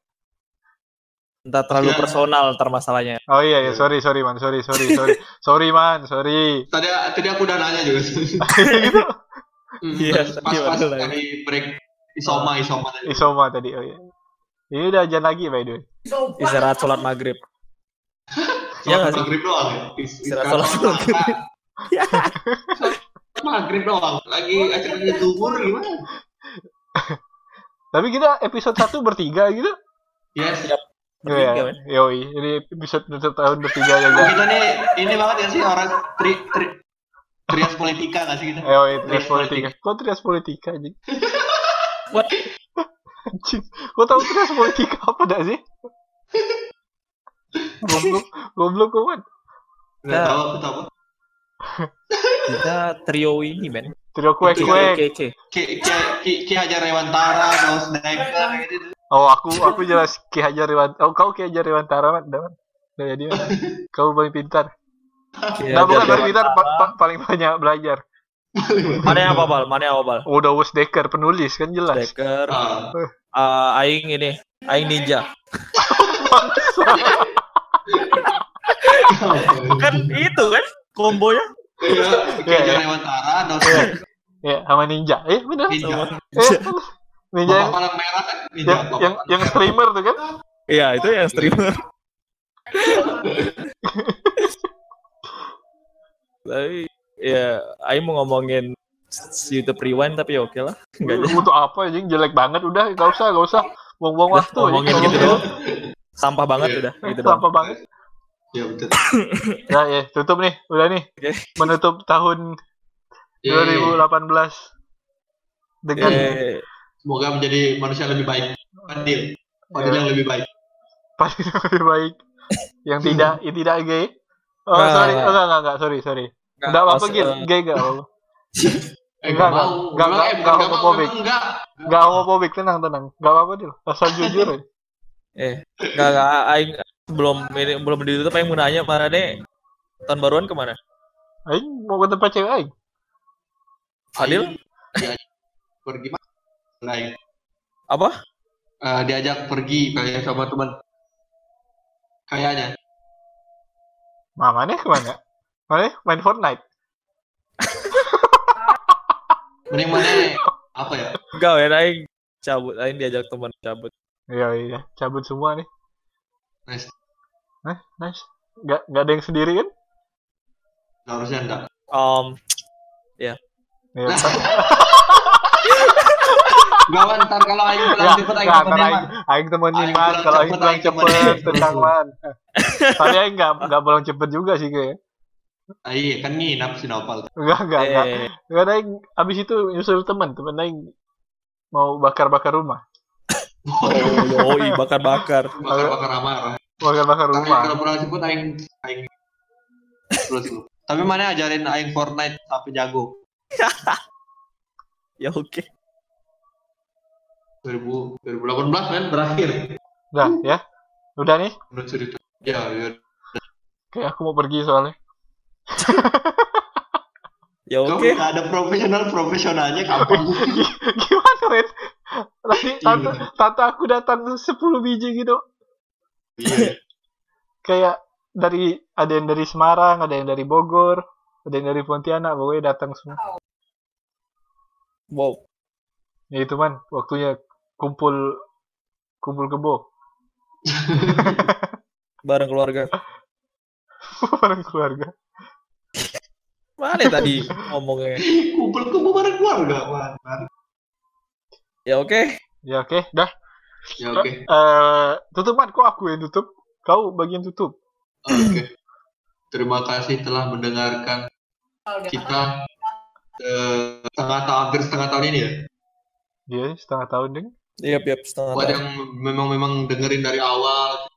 S2: Entah
S1: Ya.
S2: terlalu personal ntar masalahnya.
S3: Oh iya, iya, sorry sorry man, sorry sorry sorry, sorry man, sorry.
S1: tadi tadi aku udah nanya juga.
S3: Gitu.
S1: Hmm,
S2: Iya,
S1: terus
S2: iya,
S1: pas-pas
S2: betul, ya.
S1: dari break isoma isoma tadi.
S3: Isoma tadi, oh iya. Ini udah ajan lagi by the way.
S2: Istirahat sholat maghrib.
S1: Sholat
S2: Iya nggak sih?
S1: maghrib doang. ya? Is-
S2: Istirahat
S1: istirahat
S2: sholat
S1: doang.
S2: maghrib.
S1: Iya. Sholat maghrib doang. Lagi
S2: Iya.
S1: acaranya zuhur gimana?
S3: Tapi kita episode 1 bertiga gitu.
S1: Yes.
S2: Bertiga,
S3: Iya, yoi. Ini episode tutup tahun bertiga ya guys.
S2: iya.
S1: kita nih ini banget ya sih orang tri tri trias politika nggak sih kita?
S2: Iya.
S3: Yoi, trias politika. Kok trias politika anjing?
S2: What?
S3: Anjing. Kok tahu trias politika apa dah sih? Goblok, goblok kok man.
S1: Nggak tahu aku tahu.
S2: Kita trio ini, men.
S3: Trio kuek kuek.
S2: Oke, oke.
S1: Ki Ki Ki, ki Hajar Rewantara, Daus Daeker gitu.
S3: Oh aku aku jelas Ki Hajar Iwan. Oh kau Ki Hajar Iwantara man, dah man. Dah jadi man. Kau paling pintar.
S4: Iya,
S3: Nah bukan paling pintar, pa- pa- paling banyak belajar. Oh,
S2: Mana yang apa, Bal? Mana yang apa, Bal?
S3: Udah Wes Decker penulis kan jelas.
S2: Decker.
S1: Ah,
S2: Eh, aing ini. Aing ninja. Kan itu kan kombonya.
S1: Iya, Ki
S3: Iya,
S1: Hajar
S3: iya.
S1: Rewantara, Daus Daeker,
S3: Ya, sama ninja. Eh bener.
S1: Ninja.
S3: Eh, ninja
S1: Bapak
S3: yang,
S1: palang merah kan Ninja.
S3: yang,
S1: Bapak
S3: Iya, yang,
S1: palang
S3: yang
S1: merah.
S3: streamer tuh kan?
S2: Iya, itu yang streamer. Tapi ya aing mau ngomongin YouTube Rewind tapi ya oke lah. Enggak ada.
S3: Untuk apa anjing jelek banget udah gak usah gak usah buang-buang
S2: Udah,
S3: waktu anjing.
S2: ngomongin gitu
S3: Ngomongin
S2: doang. Sampah banget
S1: Iya.
S2: udah gitu doang.
S3: Sampah banget.
S1: Iya betul.
S3: Nah, ya, tutup nih, udah nih.
S2: Oke.
S3: Menutup tahun
S1: Iya, iya, iya.
S3: 2018 dengan
S2: Eh,
S1: Semoga menjadi manusia yang lebih baik. Adil. Adil
S3: Iya.
S1: yang lebih baik.
S3: pasti lebih baik yang tidak yang tidak gay. Oh,
S2: Nah.
S3: sorry. Oh, enggak, enggak, enggak, sorry, sorry. Enggak apa-apa,
S2: pas,
S3: Gil.
S2: eh,
S3: Gay enggak apa-apa.
S1: Eh,
S3: Enggak,
S1: nggak mau. Memang,
S3: enggak,
S1: eh,
S3: enggak,
S1: bukan
S3: enggak
S1: nggak
S3: homophobic.
S1: memang enggak.
S3: Enggak homophobic, tenang, tenang. Enggak apa-apa, Dil. Asal jujur. aja.
S2: eh enggak enggak aing belum ini, belum ditutup aing mau nanya mana deh tahun baruan kemana?
S3: Aing mau ke tempat cewek aing.
S2: Fadil
S1: Iya. Pergi mana? Lain.
S2: apa?
S1: eh, diajak pergi kayak sama teman kayaknya
S3: Ma, mana kemana? Mana? Main Fortnite.
S1: mending mana apa ya
S2: Enggak, men, aing cabut, aing diajak teman cabut.
S3: Iya, iya. Cabut semua nih.
S1: nice
S3: Nah, nice. Enggak, enggak ada yang sendiri kan?
S1: Nggak, harusnya enggak
S2: Um,
S3: Iya.
S1: Nah, gak man, ntar kalau Aing pulang
S3: Ya,
S1: cepet Aing
S3: nggak,
S1: temenin
S3: kalau
S1: Man.
S3: aing, aing temenin
S1: Aing
S3: man,
S1: pulang
S3: kalau aing
S1: cepet,
S3: pulang
S1: aing
S3: cepet,
S1: temenin.
S3: tenang man. Tapi aing nggak nggak pulang cepet juga sih kayaknya.
S1: Ah, iya kan nginap si Nopal
S3: Enggak enggak enggak.
S2: eh,
S3: Enggak aing abis itu nyusul teman, teman aing mau bakar-bakar rumah, iya.
S2: oh, yoi, bakar-bakar.
S1: bakar-bakar amarah
S3: bakar-bakar
S1: Tapi
S3: rumah.
S1: kalau pulang cepet Aing Aing terus dulu tapi mana ajarin Aing Fortnite sampai jago
S2: Ya oke.
S1: 2000 2018 kan berakhir
S3: Udah ya. Udah nih,
S1: menurut cerita ya, ya.
S3: kayak aku mau pergi soalnya.
S2: Ya oke.
S1: Kamu nggak ada profesional profesionalnya kamu
S3: Gimana, men? Tadi tante, tante aku datang 10 biji gitu.
S1: iya
S3: Kayak dari ada yang dari Semarang, ada yang dari Bogor, ada yang dari Pontianak, pokoknya datang semua.
S2: Wow.
S3: Ya itu man, waktunya kumpul kumpul kebo
S2: Bareng keluarga.
S3: bareng keluarga.
S2: Mana tadi ngomongnya?
S1: kumpul kumpul bareng keluarga man.
S2: Ya oke.
S3: Ya oke, dah.
S1: ya oke
S3: Eh, tutup man, kok aku yang tutup? Kau bagian tutup.
S1: oke terima kasih telah mendengarkan kita eh, setengah tahun hampir setengah tahun ini ya
S3: Dia setengah tahun deng.
S2: Iya, yep, setengah
S1: buat
S2: tahun.
S1: yang memang memang dengerin dari awal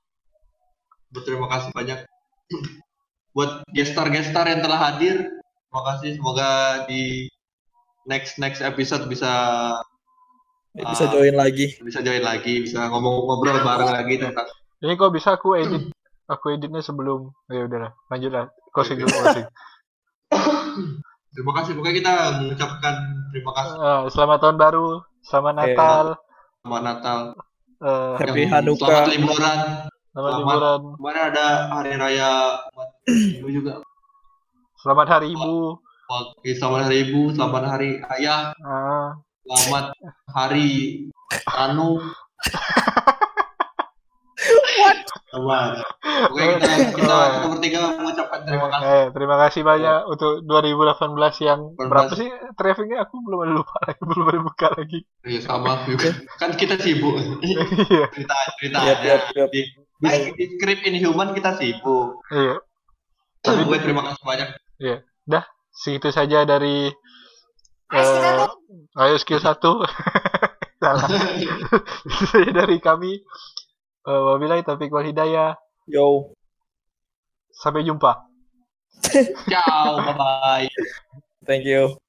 S1: berterima kasih banyak buat gestar gestar yang telah hadir terima kasih semoga di next next episode bisa
S2: Ya, Bisa join lagi.
S1: bisa join lagi bisa ngomong ngobrol bareng lagi tentang
S3: Ini kok bisa aku edit? Aku editnya sebelum. Ya udahlah, lanjutlah. Closing dulu closing.
S1: terima kasih pokoknya kita mengucapkan terima kasih
S3: Eh, selamat tahun baru, selamat
S2: Iya.
S3: Natal,
S1: sama Natal
S3: eh,
S2: Happy
S1: Yang
S2: Hanukkah.
S1: selamat liburan
S3: selamat
S1: Selamat.
S3: liburan,
S1: kemarin ada hari raya umat Hindu juga
S3: selamat hari ibu.
S1: Oke, selamat hari ibu selamat hari ayah
S3: Ah,
S1: Selamat hari Anu. What? Oke, kita, kita, kita bertiga mengucapkan terima kasih.
S3: Eh, terima kasih banyak untuk 2018 yang berapa sih trafficnya aku belum ada lupa lagi belum ada buka lagi
S1: Iya, sama juga. Kan kita sibuk.
S3: iya
S1: cerita cerita
S2: Yap, yap, yap.
S1: di, baik, di script in human kita sibuk.
S3: iya
S1: Tapi terima kasih banyak.
S3: segitu saja dari eh, ayo skill satu salah Segitu saja dari kami Eh, wabillahi taufiq wal hidayah
S2: Yo.
S3: sampai jumpa
S1: Ciao, bye bye.
S2: Thank you.